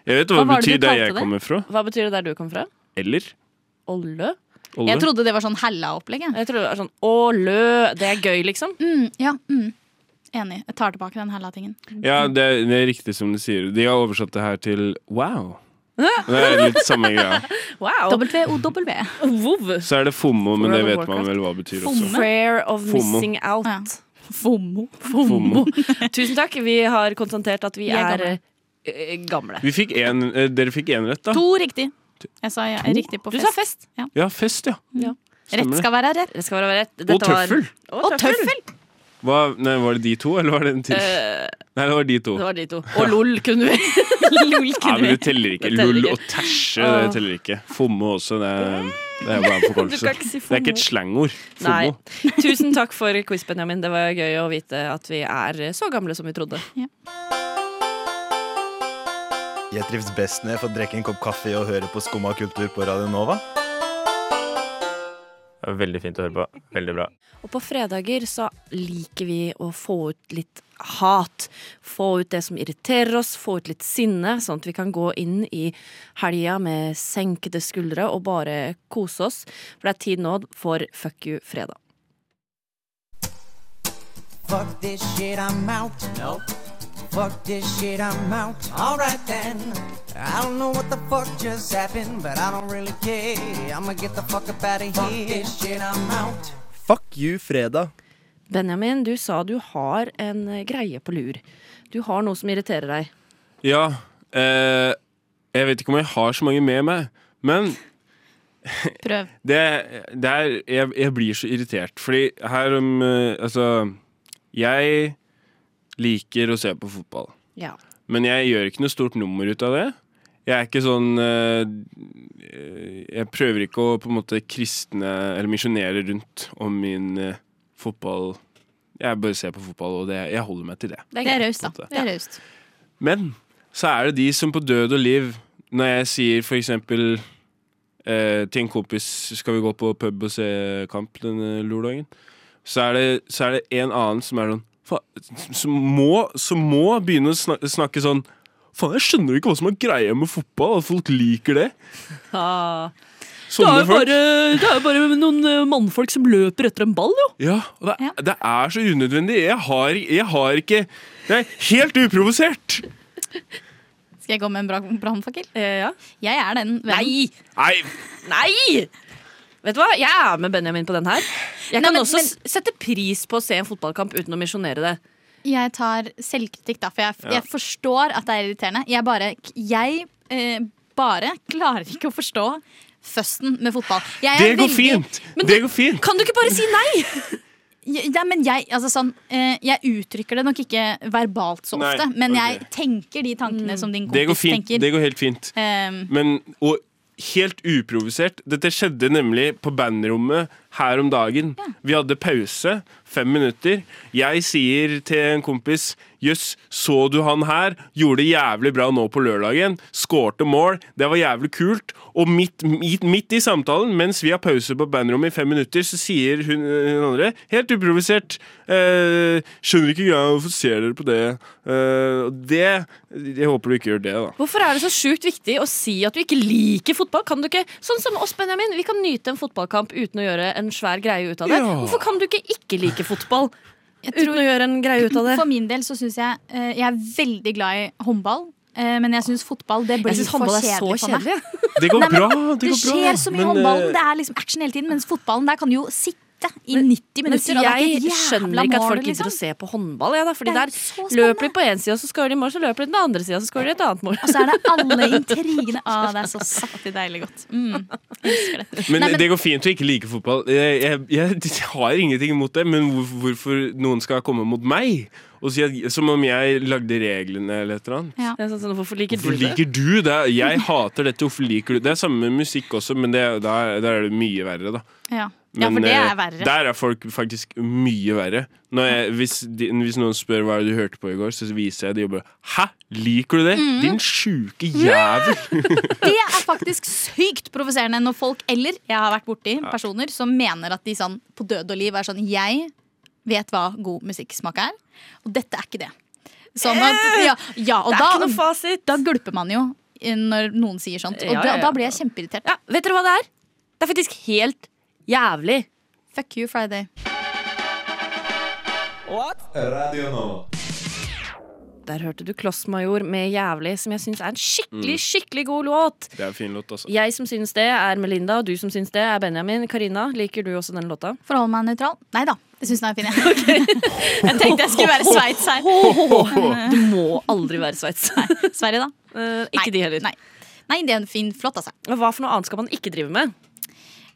Speaker 5: Jeg vet hva,
Speaker 6: Hva var
Speaker 5: det
Speaker 6: det du
Speaker 5: betyr der jeg
Speaker 6: kalte det?
Speaker 5: kommer fra.
Speaker 3: Hva betyr det der du kom fra?
Speaker 5: Eller
Speaker 3: Olle?
Speaker 5: Olle.
Speaker 6: Jeg trodde det var sånn hella-opplegg. jeg.
Speaker 3: Jeg tror det er sånn Ålø. Det er gøy, liksom.
Speaker 6: Mm, ja, mm. Enig. Jeg tar tilbake den hella-tingen.
Speaker 5: Ja, det er, det er riktig som du sier. De har oversatt det her til wow. Det er litt samme greia.
Speaker 3: Wow.
Speaker 6: W-O-W.
Speaker 3: Vov.
Speaker 5: Så er det FOMO, men det
Speaker 3: World of
Speaker 5: vet man
Speaker 3: Warcraft.
Speaker 5: vel hva betyr også.
Speaker 6: Fomme.
Speaker 3: Prayer of
Speaker 5: Fomo.
Speaker 3: missing out.
Speaker 6: Ja. Fomo.
Speaker 5: FOMO.
Speaker 3: Tusen takk. Vi har konstatert at vi,
Speaker 6: Vi er
Speaker 3: er, eh, gamle.
Speaker 5: Vi fikk en, eh, dere fikk én rett, da.
Speaker 6: To riktig. Jeg sa ja, riktig på
Speaker 3: Du
Speaker 6: fest.
Speaker 3: sa fest.
Speaker 6: Ja.
Speaker 5: Ja, fest, ja.
Speaker 3: Ja.
Speaker 5: Stemmer
Speaker 6: Rett
Speaker 5: det.
Speaker 6: skal være rett.
Speaker 3: Det skal være rett.
Speaker 5: Og tøffel.
Speaker 3: Var, og tøffel!
Speaker 5: Hva, nei, var det de to, eller var det en til?
Speaker 3: Eh,
Speaker 5: Nei, det var de to.
Speaker 3: det var de to. Og lol kunne vi. lol
Speaker 5: Ja,
Speaker 3: kunne
Speaker 5: men det
Speaker 3: vi.
Speaker 5: teller ikke.
Speaker 3: Det teller
Speaker 5: Lull
Speaker 3: ikke.
Speaker 5: og tæsje, det teller ikke. Fomme også, det er, det er bare en forkortelse.
Speaker 3: Du kan ikke si
Speaker 5: Det er ikke et slangord.
Speaker 3: Nei.
Speaker 5: Fomo.
Speaker 3: Tusen takk for quiz, Benjamin. Det var gøy å vite at vi er så gamle som vi trodde.
Speaker 4: Jeg trives best når jeg får drikke en kopp kaffe og høre på Skumma kultur på Radio Nova.
Speaker 11: Veldig fint å høre på. Veldig bra.
Speaker 3: Og på fredager så liker vi å få ut litt hat. Få ut det som irriterer oss, få ut litt sinne, sånn at vi kan gå inn i helga med senkede skuldre og bare kose oss. For det er tid nå for Fuck you fredag.
Speaker 12: Fuck this shit, I'm out. Nope. Fuck this shit, I'm out. Alright then. I don't know what the fuck just happened, but I don't really care. I'ma get the fuck up out of here. Fuck this shit, I'm out.
Speaker 13: Fuck you, fredag.
Speaker 3: Benjamin, du sa du har en eh, greie på lur. Du har noe som irriterer deg.
Speaker 5: Ja. Eh, jeg vet ikke om jeg har så mange med meg, men
Speaker 6: Prøv.
Speaker 5: det, det er jeg, jeg blir så irritert, fordi her om eh, Altså, jeg liker å se på fotball,
Speaker 3: Ja.
Speaker 5: men jeg gjør ikke noe stort nummer ut av det. Jeg er ikke sånn eh, Jeg prøver ikke å på en måte kristne eller misjonere rundt om min eh, fotball Jeg bare ser på fotball, og det, jeg holder meg til det.
Speaker 6: Det er raust, da. Det er raust.
Speaker 5: Men så er det de som på død og liv, når jeg sier for eksempel eh, til en kompis skal vi gå på pub og se kamp denne lørdagen, så er det, så er det en annen som er sånn "Fa- som må, som må begynne å snakke, snakke sånn Faen, jeg skjønner ikke hva som er greia med fotball, at folk liker det.
Speaker 3: Det er,
Speaker 5: Sånne
Speaker 3: jo
Speaker 5: folk.
Speaker 3: bare, det er jo bare noen eh, mannfolk som løper etter en ball, jo.
Speaker 5: Ja, og det, det er så unødvendig. Jeg har, jeg har ikke Det er helt uprovosert!
Speaker 6: Skal jeg gå med en bra- brannfakkel?
Speaker 3: Eh, ja.
Speaker 6: Jeg er den vennen.
Speaker 5: Nei!
Speaker 3: Nei! Vet du hva, Jeg er med Benjamin på den her. Jeg kan
Speaker 6: men-
Speaker 3: også s- sette pris på å se en fotballkamp uten å misjonere det.
Speaker 6: Jeg tar selvkritikk, da, for jeg,
Speaker 3: Ja.
Speaker 6: jeg forstår at det er irriterende. Jeg bare, jeg, eh, bare klarer ikke å forstå føsten med fotball. Jeg er
Speaker 5: Det går
Speaker 6: veldig-
Speaker 5: fint! Det går fint!
Speaker 3: Kan du ikke bare si nei?
Speaker 6: Jeg- Ja, men jeg, altså sånn, eh, jeg uttrykker det nok ikke verbalt så
Speaker 5: Nei,
Speaker 6: ofte, men jeg
Speaker 5: ok. Mm.
Speaker 6: tenker de tankene som din
Speaker 5: Det går
Speaker 6: kompis
Speaker 5: fint.
Speaker 6: tenker.
Speaker 5: Det går helt fint.
Speaker 6: Ehm,
Speaker 5: Men, og helt uprovosert. Dette skjedde nemlig på bandrommet her om dagen. Vi hadde pause, fem minutter. Jeg sier til en kompis Jøss, så du han her? Gjorde det jævlig bra nå på lørdagen. Skårte mål. Det var jævlig kult. Og midt, midt, midt i samtalen, mens vi har pause på bandrommet i fem minutter, så sier hun, hun andre, helt uprovosert eh, Skjønner ikke greia, hvorfor ser dere på det? Eh, og det Jeg håper du ikke gjør det, da.
Speaker 3: Hvorfor er det så sjukt viktig å si at du ikke liker fotball? Kan du ikke, sånn som oss, Benjamin, Vi kan nyte en fotballkamp uten å gjøre en svær greie ut av det.
Speaker 6: Ja.
Speaker 3: Hvorfor kan du ikke ikke like fotball
Speaker 6: tror-
Speaker 3: uten å gjøre en greie ut av det?
Speaker 6: For min del så syns jeg eh, Jeg er veldig glad i håndball. eh, Men jeg syns fotball det blir
Speaker 3: Jeg synes
Speaker 6: for
Speaker 3: håndball er så
Speaker 6: kjedelig for meg.
Speaker 3: kjedelig,
Speaker 5: Det går
Speaker 6: Nei, men
Speaker 5: bra. Det,
Speaker 6: det
Speaker 5: går bra,
Speaker 6: skjer så mye i
Speaker 5: men,
Speaker 6: håndballen.
Speaker 5: eh,
Speaker 6: Det er liksom action hele tiden. Mens fotballen, der kan du jo sitte i 90
Speaker 3: Mens
Speaker 6: minutter. og det er
Speaker 3: jeg
Speaker 6: ikke et jævla
Speaker 3: skjønner ikke at
Speaker 6: mål,
Speaker 3: folk gidder å
Speaker 6: liksom.
Speaker 3: se på håndball. Ja, da, fordi
Speaker 6: Det er
Speaker 3: der
Speaker 6: jo så
Speaker 3: løper de på én side, og så skårer de mål, så løper de den andre sida, så skårer de et annet mål.
Speaker 6: Og så er det alle intrigene. Å, det er så saftig deilig godt. Mm.
Speaker 5: Men,
Speaker 6: Nei, men-
Speaker 5: det går fint å ikke like fotball. Jeg, jeg, jeg har ingenting imot det, men hvor, hvorfor noen skal komme mot meg? Og si at, som om jeg lagde reglene eller et eller annet.
Speaker 3: Det er sånn, sånn, hvorfor liker
Speaker 5: Hvorfor
Speaker 3: du det?
Speaker 5: liker du det? Jeg hater dette, hvorfor liker du det? Det er samme med musikk også, men det, der, der er det mye verre, da.
Speaker 6: Ja. ja,
Speaker 5: Men,
Speaker 6: for det
Speaker 5: eh,
Speaker 6: er verre.
Speaker 5: Der er folk faktisk mye verre. Når jeg, hvis, de, hvis noen spør hva er det du hørte på i går, så viser jeg det og bare Hæ? Liker du det?
Speaker 6: Mhm.
Speaker 5: Din sjuke jævel!
Speaker 6: Det er faktisk sykt provoserende når folk, eller jeg har vært borti personer som mener at de sånn på død og liv er sånn Jeg vet hva god musikksmak er, og dette er ikke det. Sånn at, ja, ja, og
Speaker 3: Eh, Det er ikke
Speaker 6: da,
Speaker 3: noe
Speaker 6: Da gulper man jo eh, når noen sier sånt. Og
Speaker 3: Ja,
Speaker 6: da,
Speaker 3: ja, ja.
Speaker 6: da blir jeg kjempeirritert.
Speaker 3: vet dere hva det er? Det er faktisk helt jævlig.
Speaker 6: Fuck you, Friday.
Speaker 14: Radio Nova.
Speaker 3: Der hørte du Klossmajor med 'Jævlig', som jeg syns er en skikkelig
Speaker 5: Mm.
Speaker 3: skikkelig god låt.
Speaker 5: Det er en fin låt, altså.
Speaker 3: Jeg som syns det, er Melinda, og du som syns det, er Benjamin. Karina, liker du også den låta?
Speaker 6: Forholde meg nøytral? Nei da. Jeg syns den er fin, jeg. jeg tenkte jeg skulle være Sveits her.
Speaker 3: Du må aldri være Sveits. Eh,
Speaker 6: Sverige, da?
Speaker 3: ikke de heller.
Speaker 6: Nei. Nei, det er en fin, flott, altså.
Speaker 3: Hva for noe annet skal man ikke drive med?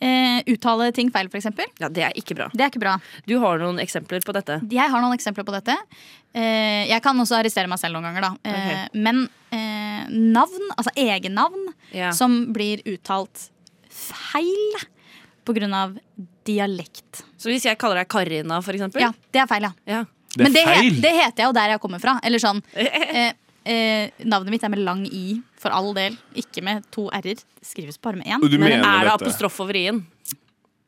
Speaker 6: Eh, uttale ting feil, f.eks.
Speaker 3: Ja, det er ikke bra.
Speaker 6: Det er ikke bra.
Speaker 3: Du har noen eksempler på dette.
Speaker 6: Jeg har noen eksempler på dette. Eh, jeg kan også arrestere meg selv noen ganger, da. Eh, Men eh, navn, altså egennavn,
Speaker 3: Ja.
Speaker 6: som blir uttalt feil på grunn av dialekt.
Speaker 3: Så hvis jeg kaller deg Karina, for eksempel?
Speaker 6: Ja, det er feil, ja.
Speaker 3: Det er
Speaker 6: Men det, he-
Speaker 3: feil.
Speaker 6: det heter jeg, og der jeg kommer fra. Eller sånn eh, eh, Navnet mitt er med lang i, for all del. Ikke med to r-er. Det Skrives bare med én.
Speaker 5: Og du Men mener er det dette?
Speaker 3: apostrof over i-en?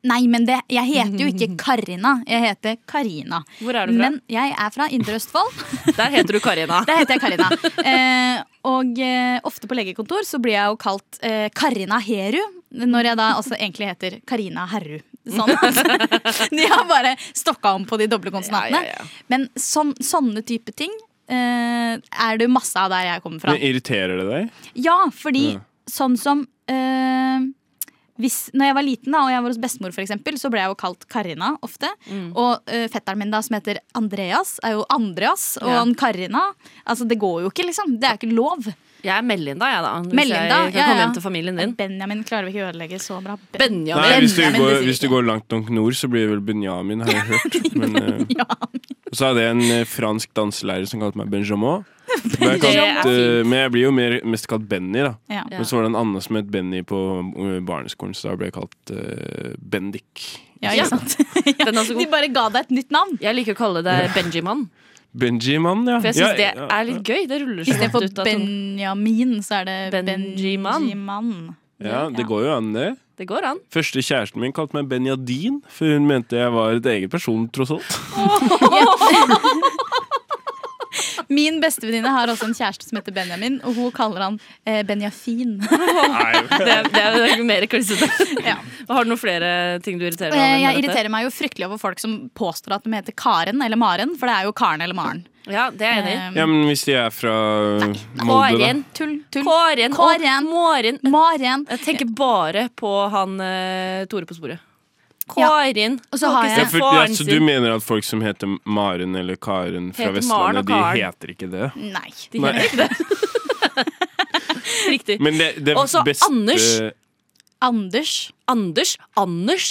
Speaker 6: Nei, men det, jeg heter jo ikke Karina. Jeg heter Karina.
Speaker 3: Hvor er du fra?
Speaker 6: Men jeg er fra Indre Østfold.
Speaker 3: Der heter du Karina.
Speaker 6: Der heter jeg Karina. Eh, og eh, ofte på legekontor så blir jeg jo kalt eh, Karina Heru. Når jeg da altså egentlig heter Karina Herru. Sånn. de har bare stokka om på de doble konsonantene. Men sånn, sånne type ting eh, er det jo masse av der jeg kommer fra.
Speaker 5: Men irriterer det deg?
Speaker 6: Ja, fordi
Speaker 5: Ja.
Speaker 6: sånn som eh, hvis, Når jeg var liten da, og jeg var hos bestemor, for eksempel, så ble jeg jo kalt Karina ofte.
Speaker 3: Mm.
Speaker 6: Og eh, fetteren min, da, som heter Andreas, er jo Andreas. Og
Speaker 3: Ja.
Speaker 6: han Karina Altså, det går jo ikke, liksom. Det er ikke lov.
Speaker 3: Jeg er Melinda, jeg, da. Hvis
Speaker 6: Melinda,
Speaker 3: jeg kan
Speaker 6: ja,
Speaker 3: komme
Speaker 6: ja.
Speaker 3: hjem til familien din.
Speaker 6: Benjamin klarer vi ikke å ødelegge så bra. Ben-
Speaker 3: Benjamin.
Speaker 5: Nei, hvis du,
Speaker 6: Benjamin, det
Speaker 5: går,
Speaker 6: sier
Speaker 5: hvis du går langt nok nord, så blir det vel Benjamin, har jeg hørt. Men, eh, og så hadde jeg en eh, fransk danselærer som kalte meg Benjamin. Men jeg,
Speaker 6: Det er
Speaker 5: kalt, eh, men jeg blir jo mer, mest kalt Benny, da.
Speaker 6: Ja.
Speaker 5: Men så var det en annen som het Benny på eh, barneskolen, så da ble jeg kalt eh, Bendik.
Speaker 6: Ja, ikke sant? De bare ga deg et nytt navn.
Speaker 3: Jeg liker å kalle det Benjiman.
Speaker 5: Benjiman, ja.
Speaker 3: For jeg
Speaker 5: ja,
Speaker 3: syns det
Speaker 5: ja.
Speaker 3: er litt gøy. Det ruller så
Speaker 6: Istedenfor
Speaker 3: godt ut av tungen.
Speaker 6: Benjamin, så er det
Speaker 3: Benjiman.
Speaker 6: Benjiman.
Speaker 5: Ja, det går jo an, det.
Speaker 3: Det går an.
Speaker 5: Første kjæresten min kalte meg Benjadin, for hun mente jeg var et eget person, tross alt.
Speaker 6: Min bestevenninne har også en kjæreste som heter Benjamin, og hun kaller han eh, Benjafin.
Speaker 3: Det, er- det er mer klissete.
Speaker 6: Ja.
Speaker 3: Har du noen flere ting du irriterer deg
Speaker 6: Eh,
Speaker 3: over? med
Speaker 6: Jeg
Speaker 3: dette?
Speaker 6: irriterer meg jo fryktelig over folk som påstår at de heter Karen eller Maren, for det er jo Karen eller Maren.
Speaker 3: Ja, det er jeg
Speaker 6: Eh,
Speaker 3: enig i.
Speaker 5: Ja, men hvis de er fra Molde, da?
Speaker 3: Kåren.
Speaker 6: Tull, tull.
Speaker 3: Kåren og
Speaker 6: Kåren.
Speaker 3: Måren.
Speaker 6: Maren.
Speaker 3: Jeg tenker bare på han eh, Tore på sporet.
Speaker 6: Ja.
Speaker 3: Kåren.
Speaker 6: Og så har
Speaker 5: Ja,
Speaker 6: jeg
Speaker 5: for, ja, så du mener at folk som heter Maren eller Karen fra
Speaker 3: Heter Maren og
Speaker 5: Vestlandet, de
Speaker 3: Karen.
Speaker 5: heter ikke det?
Speaker 6: Eh, Nei.
Speaker 3: De
Speaker 5: Nei.
Speaker 3: heter ikke det. Riktig.
Speaker 5: Men det, det
Speaker 3: Og så
Speaker 5: beste
Speaker 3: Anders.
Speaker 6: Anders.
Speaker 3: Anders. Anders.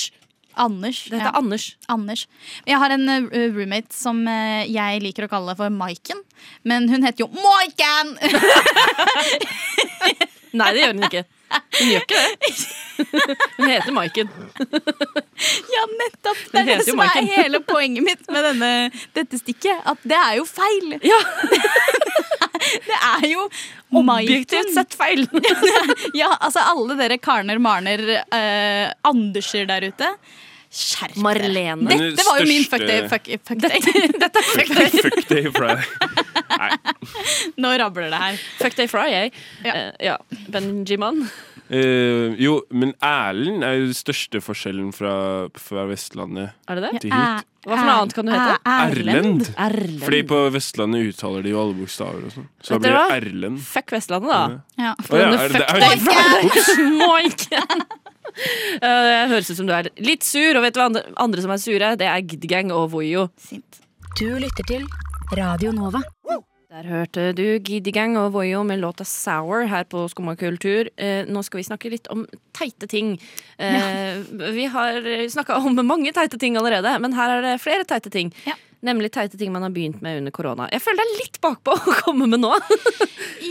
Speaker 6: Anders.
Speaker 3: Det heter
Speaker 6: ja.
Speaker 3: Anders.
Speaker 6: Anders. Jeg har en eh, roommate som eh, jeg liker å kalle for Maiken, men hun heter jo Maiken!
Speaker 3: Nei, det gjør hun ikke. Hun gjør ikke det. Hun heter Maiken.
Speaker 6: ja, nettopp!
Speaker 3: Hun
Speaker 6: Det er det
Speaker 3: heter jo
Speaker 6: som er
Speaker 3: Maiken.
Speaker 6: hele poenget mitt med denne, dette stikket. At det er jo feil! det er jo
Speaker 3: Objektivt sett feil.
Speaker 6: ja, altså alle dere karner, marner, eh, anderser der ute. Skjerp dere.
Speaker 3: Marlene.
Speaker 5: Men
Speaker 6: Dette var jo min
Speaker 5: største-
Speaker 6: fuck day. Fuck, fuck day.
Speaker 5: Fuck day Friday.
Speaker 6: Nå rabler det her.
Speaker 3: Fuck Day Fry, jeg.
Speaker 6: Ja.
Speaker 3: Eh, ja. Benjiman.
Speaker 5: Eh, jo, men Erlend er jo den største forskjellen fra, fra Vestlandet
Speaker 3: Er det det?
Speaker 5: til
Speaker 6: Eh,
Speaker 5: hit.
Speaker 3: Hva for noe annet kan du hete?
Speaker 5: Erlend.
Speaker 3: Erlend.
Speaker 5: Fordi på Vestlandet uttaler de jo alle bokstaver og sånn. Så
Speaker 3: Vet
Speaker 5: da blir
Speaker 3: dere
Speaker 5: det
Speaker 3: hva?
Speaker 5: Erlend.
Speaker 3: Fuck Vestlandet, da.
Speaker 6: Ja.
Speaker 5: Å ja, er det det? Oi, Ops.
Speaker 3: Maiken! Eh, Høres ut som du er litt sur, og vet du hva andre, andre som er sure? Det er Gidgang og Voyo.
Speaker 13: Du lytter til Radio Nova.
Speaker 3: Der hørte du Gidgang og Voyo med låta Sour her på Skumma kultur. Eh, nå skal vi snakke litt om teite ting. Eh, Vi har snakka om mange teite ting allerede, men her er det flere teite ting. Nemlig teite ting man har begynt med under korona. Jeg føler det er litt bakpå å komme med nå.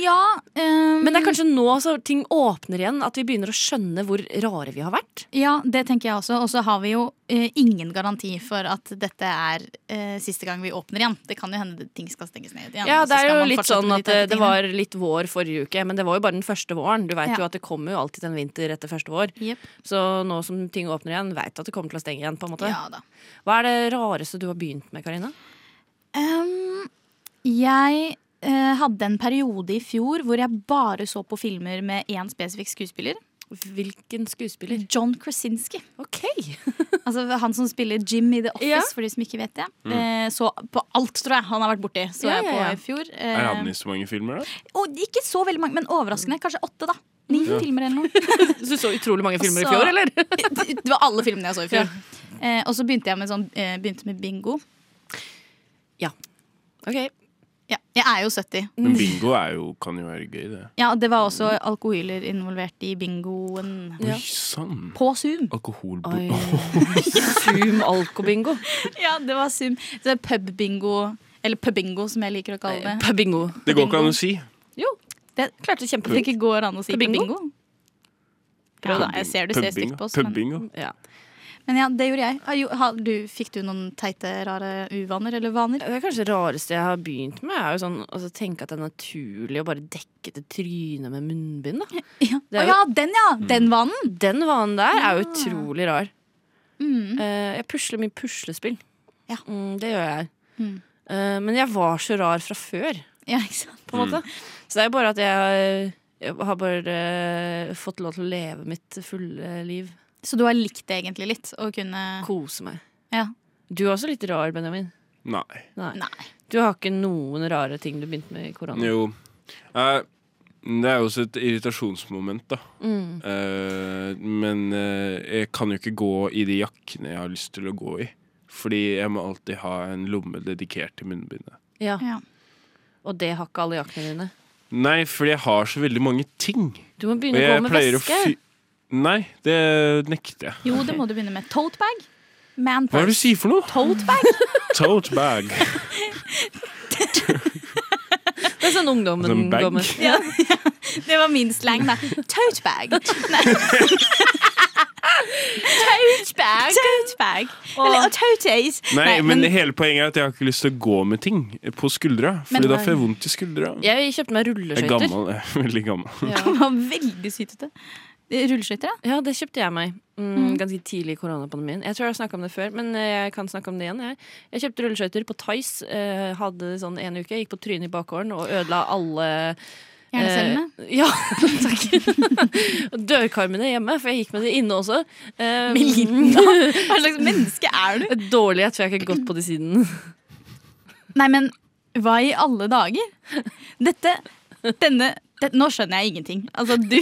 Speaker 6: Ja, ehm,
Speaker 3: Men det er kanskje nå så ting åpner igjen, at vi begynner å skjønne hvor rare vi har vært.
Speaker 6: ja, det tenker jeg også. Og så har vi jo eh, ingen garanti for at dette er eh, siste gang vi åpner igjen. Det kan jo hende ting skal stenges ned igjen.
Speaker 3: Ja,
Speaker 6: og så
Speaker 3: det er
Speaker 6: skal
Speaker 3: jo
Speaker 6: man
Speaker 3: litt
Speaker 6: fortsette
Speaker 3: sånn
Speaker 6: med de
Speaker 3: at eh,
Speaker 6: teite
Speaker 3: det
Speaker 6: tingene.
Speaker 3: var litt vår forrige uke, men det var jo bare den første våren. Du veit
Speaker 6: Ja.
Speaker 3: jo at det kommer jo alltid en vinter etter første vår.
Speaker 6: Jep.
Speaker 3: Så nå som ting åpner igjen, veit du at det kommer til å stenge igjen, på en måte.
Speaker 6: Ja da.
Speaker 3: Hva er det rareste du har begynt med, Karina?
Speaker 6: Ehm, jeg eh, hadde en periode i fjor hvor jeg bare så på filmer med én spesifikk skuespiller.
Speaker 3: Hvilken skuespiller?
Speaker 6: John Krasinski.
Speaker 3: Ok
Speaker 6: Altså Han som spiller Jim i The Office, for de som ikke vet det.
Speaker 5: Mm.
Speaker 6: Eh, så på alt, tror jeg, han har vært borti. Så
Speaker 3: Ja,
Speaker 6: jeg på
Speaker 3: ja, ja.
Speaker 6: i fjor. Eh,
Speaker 5: Er han i så mange filmer, da?
Speaker 6: og ikke så veldig mange, men overraskende. Kanskje åtte, da. Ni
Speaker 5: Ja.
Speaker 6: filmer eller noe.
Speaker 3: Du så utrolig mange filmer i
Speaker 6: Så-
Speaker 3: fjor, eller?
Speaker 6: Det var alle filmene jeg så i fjor. Eh, og så begynte jeg med, sånn, eh, begynte med bingo.
Speaker 3: Ok
Speaker 6: Ja, jeg er jo 70.
Speaker 5: Men bingo er jo, kan jo være gøy, det.
Speaker 6: Ja, og Det var også alkohyler involvert i bingoen.
Speaker 5: Oi sann.
Speaker 6: På Zoom.
Speaker 5: Alkoholbo...
Speaker 3: Oi. Zoom alkobingo.
Speaker 6: Ja, det var Zoom. Så Pubbingo, eller pubbingo som jeg liker å kalle det.
Speaker 3: Pubbingo.
Speaker 5: Det går ikke an å si.
Speaker 3: Jo,
Speaker 6: Det klarte
Speaker 3: kjempefint.
Speaker 6: Det ikke går an å si
Speaker 3: Pubbingo?
Speaker 6: pubbingo. Ja, da, jeg ser du ser
Speaker 5: Pubbing,
Speaker 6: stygt på oss. Men,
Speaker 5: Pubbing, ja.
Speaker 3: Ja.
Speaker 6: men ja, det gjorde jeg. Har jo- har du, fikk du noen teite, rare uvaner eller vaner?
Speaker 3: Det er kanskje det rareste jeg har begynt med, er jo sånn altså, tenke at det er naturlig å bare dekke til trynet med munnbind. Da.
Speaker 6: Ja.
Speaker 3: Det er
Speaker 6: Å
Speaker 3: jo-
Speaker 6: ja, Mm. den ja! Den vanen.
Speaker 3: Den vanen der er jo utrolig rar. Eh, jeg pusler mye puslespill. Mm, det gjør jeg.
Speaker 6: Mm.
Speaker 3: Eh, men jeg var så rar fra før. På en måte. Så det er jo bare at jeg, jeg har bare eh, fått lov til å leve mitt fulle liv.
Speaker 6: Så du har likt det egentlig litt? Å kunne
Speaker 3: Kose meg.
Speaker 6: Ja.
Speaker 3: Du er også litt rar, Benjamin.
Speaker 5: Nei.
Speaker 3: Nei. Du har ikke noen rare ting du begynte med i korona.
Speaker 5: Jo. Eh, det er jo også et irritasjonsmoment, da.
Speaker 3: Mm.
Speaker 5: Eh, men eh, jeg kan jo ikke gå i de jakkene jeg har lyst til å gå i. Fordi jeg må alltid ha en lomme dedikert til munnbindet.
Speaker 3: Ja. Og det har ikke alle jakkene dine.
Speaker 5: Nei, fordi jeg har så veldig mange ting.
Speaker 3: Du må
Speaker 5: Og
Speaker 3: begynne å
Speaker 5: jeg
Speaker 3: gå med
Speaker 5: pleier å
Speaker 3: veske.
Speaker 5: fy- Nei, det nekter jeg.
Speaker 6: Jo, det må du begynne med. Tote bag. Man
Speaker 5: Hva er det du
Speaker 6: purse.
Speaker 5: sier for noe?
Speaker 6: Tote bag.
Speaker 5: Tote bag.
Speaker 3: Det er sånn ungdommen
Speaker 5: Sånn bag?
Speaker 3: går med.
Speaker 6: Ja, ja. Det var min slang, da. Tote bag. Nei. Tote bag. Tote bag. Eller og totes.
Speaker 5: Nei, men, hele poenget er at jeg har ikke lyst til å gå med ting på skuldra. Fordi
Speaker 6: Men-
Speaker 5: da får jeg vondt i skuldra.
Speaker 3: Jeg kjøpte meg
Speaker 5: Jeg er
Speaker 3: rulleskøyter.
Speaker 5: gammel. Jeg er veldig gammel.
Speaker 3: Ja.
Speaker 6: Det var veldig sytete. Rulleskøyter,
Speaker 3: Ja,
Speaker 6: ja.
Speaker 3: det kjøpte jeg meg mm, ganske tidlig i koronapandemien. Jeg tror jeg har snakka om det før, men eh, jeg kan snakke om det igjen. Jeg, jeg kjøpte rulleskøyter på Tice, eh, hadde sånn en uke, gikk på trynet i bakgården og ødela alle eh,
Speaker 6: Hjernecellene?
Speaker 3: ja, takk. Og Dørkarmene hjemme, for jeg gikk med det inne også. Eh,
Speaker 6: Melinda, Eh, hva slags menneske er du?
Speaker 3: Dårlig, jeg tror jeg ikke har gått på de siden.
Speaker 6: Nei, men hva i alle dager? Dette Denne det, Nå skjønner jeg ingenting. Altså, du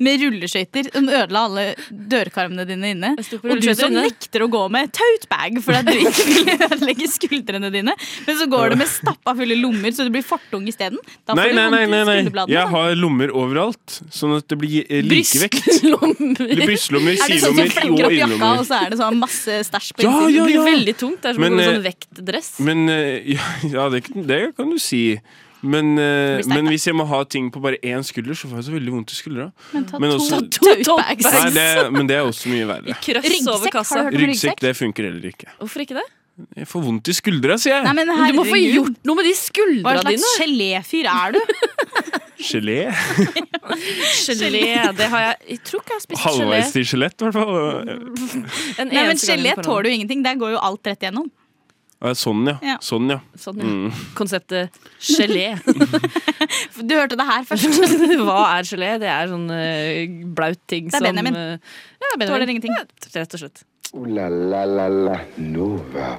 Speaker 6: med rulleskøyter som ødela alle dørkarmene dine inne,
Speaker 3: på
Speaker 6: og du som
Speaker 3: rulleskøyter inne.
Speaker 6: nekter å gå med tote bag fordi at du ikke vil ødelegge skuldrene dine, men så går du med stappa fulle lommer så du blir fortung isteden. Da får
Speaker 5: Nei,
Speaker 6: du
Speaker 5: nei, nei,
Speaker 6: vondt i
Speaker 5: nei, nei.
Speaker 6: skulderbladene,
Speaker 5: Jeg
Speaker 6: da.
Speaker 5: har lommer overalt, sånn at det blir eh, likevekt.
Speaker 3: Brystlommer.
Speaker 5: Det er brystlommer,
Speaker 6: Er det sånn
Speaker 5: sidelommer
Speaker 6: som flekker
Speaker 5: og
Speaker 6: opp jakka,
Speaker 5: innerlommer.
Speaker 6: og så er det sånn masse stæsj på
Speaker 5: Ja,
Speaker 6: innsiden?
Speaker 5: Ah, ja,
Speaker 6: Det blir
Speaker 5: ja.
Speaker 6: veldig tungt.
Speaker 3: Det er som å gå
Speaker 5: Men,
Speaker 3: med
Speaker 5: eh,
Speaker 3: sånn vektdress.
Speaker 5: Men eh, ja, ja det, kan- det kan du si. Men, eh,
Speaker 3: Det blir sterkt,
Speaker 5: men
Speaker 3: da.
Speaker 5: hvis jeg må ha ting på bare én skulder, så får jeg så veldig vondt i skuldra.
Speaker 6: Men ta
Speaker 5: Men
Speaker 6: to
Speaker 5: også-
Speaker 3: tote bags.
Speaker 5: Nei, det, men det er også mye verre.
Speaker 3: Krøss over kassa.
Speaker 5: Ryggsekk, det funker heller ikke.
Speaker 3: Hvorfor ikke det?
Speaker 5: Jeg får vondt i skuldra, sier jeg.
Speaker 6: Nei, men
Speaker 3: Du må få
Speaker 6: herregud.
Speaker 3: gjort noe med de
Speaker 6: Hva
Speaker 3: skuldra dine.
Speaker 6: slags geléfyr er du?
Speaker 5: Gelé.
Speaker 3: Gelé. Det har jeg Jeg tror ikke jeg har spist gelé.
Speaker 5: Halvveis til skjelett, i hvert fall.
Speaker 6: Mm.
Speaker 3: En
Speaker 6: Nei, men
Speaker 3: eneste gang i
Speaker 6: gelé
Speaker 3: korona.
Speaker 6: tåler jo ingenting. Der går jo alt rett igjennom.
Speaker 5: Ja, Sånn, ja.
Speaker 6: Ja.
Speaker 5: Sånn, ja.
Speaker 3: Sånn, ja.
Speaker 5: Mm.
Speaker 3: Konseptet gelé.
Speaker 6: Du hørte det her først.
Speaker 3: Hva er gelé? Det er sånn eh, blaut ting
Speaker 6: Det er
Speaker 3: som
Speaker 6: Benjamin.
Speaker 3: eh, ja, Benjamin.
Speaker 6: Tåler ingenting.
Speaker 3: Ja, rett og slett.
Speaker 2: Ooh la la la la Nova.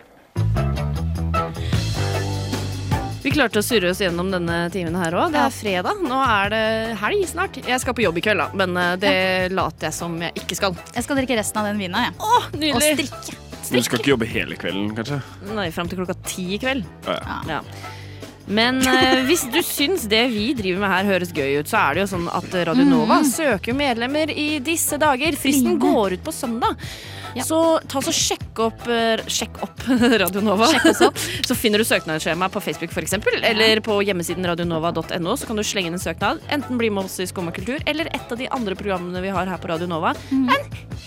Speaker 3: Vi klarte å surre oss gjennom denne timen her òg. Det er fredag. Nå er det helg snart. Jeg skal på jobb i kveld, da, men eh, det later jeg som jeg ikke skal.
Speaker 6: Jeg skal drikke resten av den vina, jeg.
Speaker 3: Åh,
Speaker 6: Og
Speaker 3: nydelig!
Speaker 6: strikke.
Speaker 5: Men du skal ikke jobbe hele kvelden, kanskje?
Speaker 3: Nei, fram til klokka ti i kveld.
Speaker 5: Ja, ja.
Speaker 3: Ja. Men eh, hvis du syns det vi driver med her høres gøy ut, så er det jo sånn at Radio Nova søker medlemmer i disse dager. Fristen går ut på søndag. Så ta så sjekk opp, eh, sjekk opp Radio Nova. Så finner du søknadsskjemaet på Facebook f.eks. eksempel Eller på hjemmesiden radionova.no. Så kan du slenge inn en søknad. Enten bli med oss i Skumma kultur eller et av de andre programmene vi har her på Radio Nova. En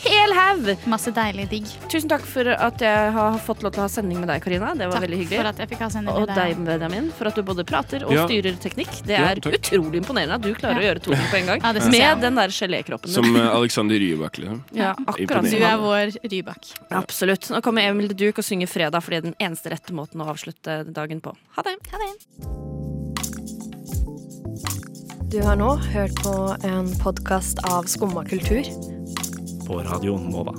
Speaker 3: hel haug!
Speaker 6: Masse deilig digg.
Speaker 3: Tusen takk for at jeg har fått lov til å ha sending med deg, Karina. Det var
Speaker 6: Takk
Speaker 3: veldig hyggelig.
Speaker 6: for at jeg fikk ha sending
Speaker 3: Og
Speaker 6: med deg.
Speaker 3: deg, Benjamin, for at du både prater og
Speaker 5: Ja.
Speaker 3: styrer teknikk. Det
Speaker 5: Ja,
Speaker 3: er
Speaker 5: takk.
Speaker 3: utrolig imponerende at du klarer å gjøre to ting på en gang.
Speaker 6: Ja, det synes jeg også.
Speaker 3: med den der gelékroppen
Speaker 5: Som
Speaker 3: din.
Speaker 5: eh, Alexander Rybak, liksom.
Speaker 3: Ja, akkurat
Speaker 5: Imponerende.
Speaker 6: Du er vår Rybak.
Speaker 3: Absolutt. Nå kommer Emil Duke og synger 'Fredag', for det er den eneste rette måten å avslutte dagen på. Ha det.
Speaker 15: Du har nå hørt på en podkast av Skumma kultur.
Speaker 16: På Radio Nova.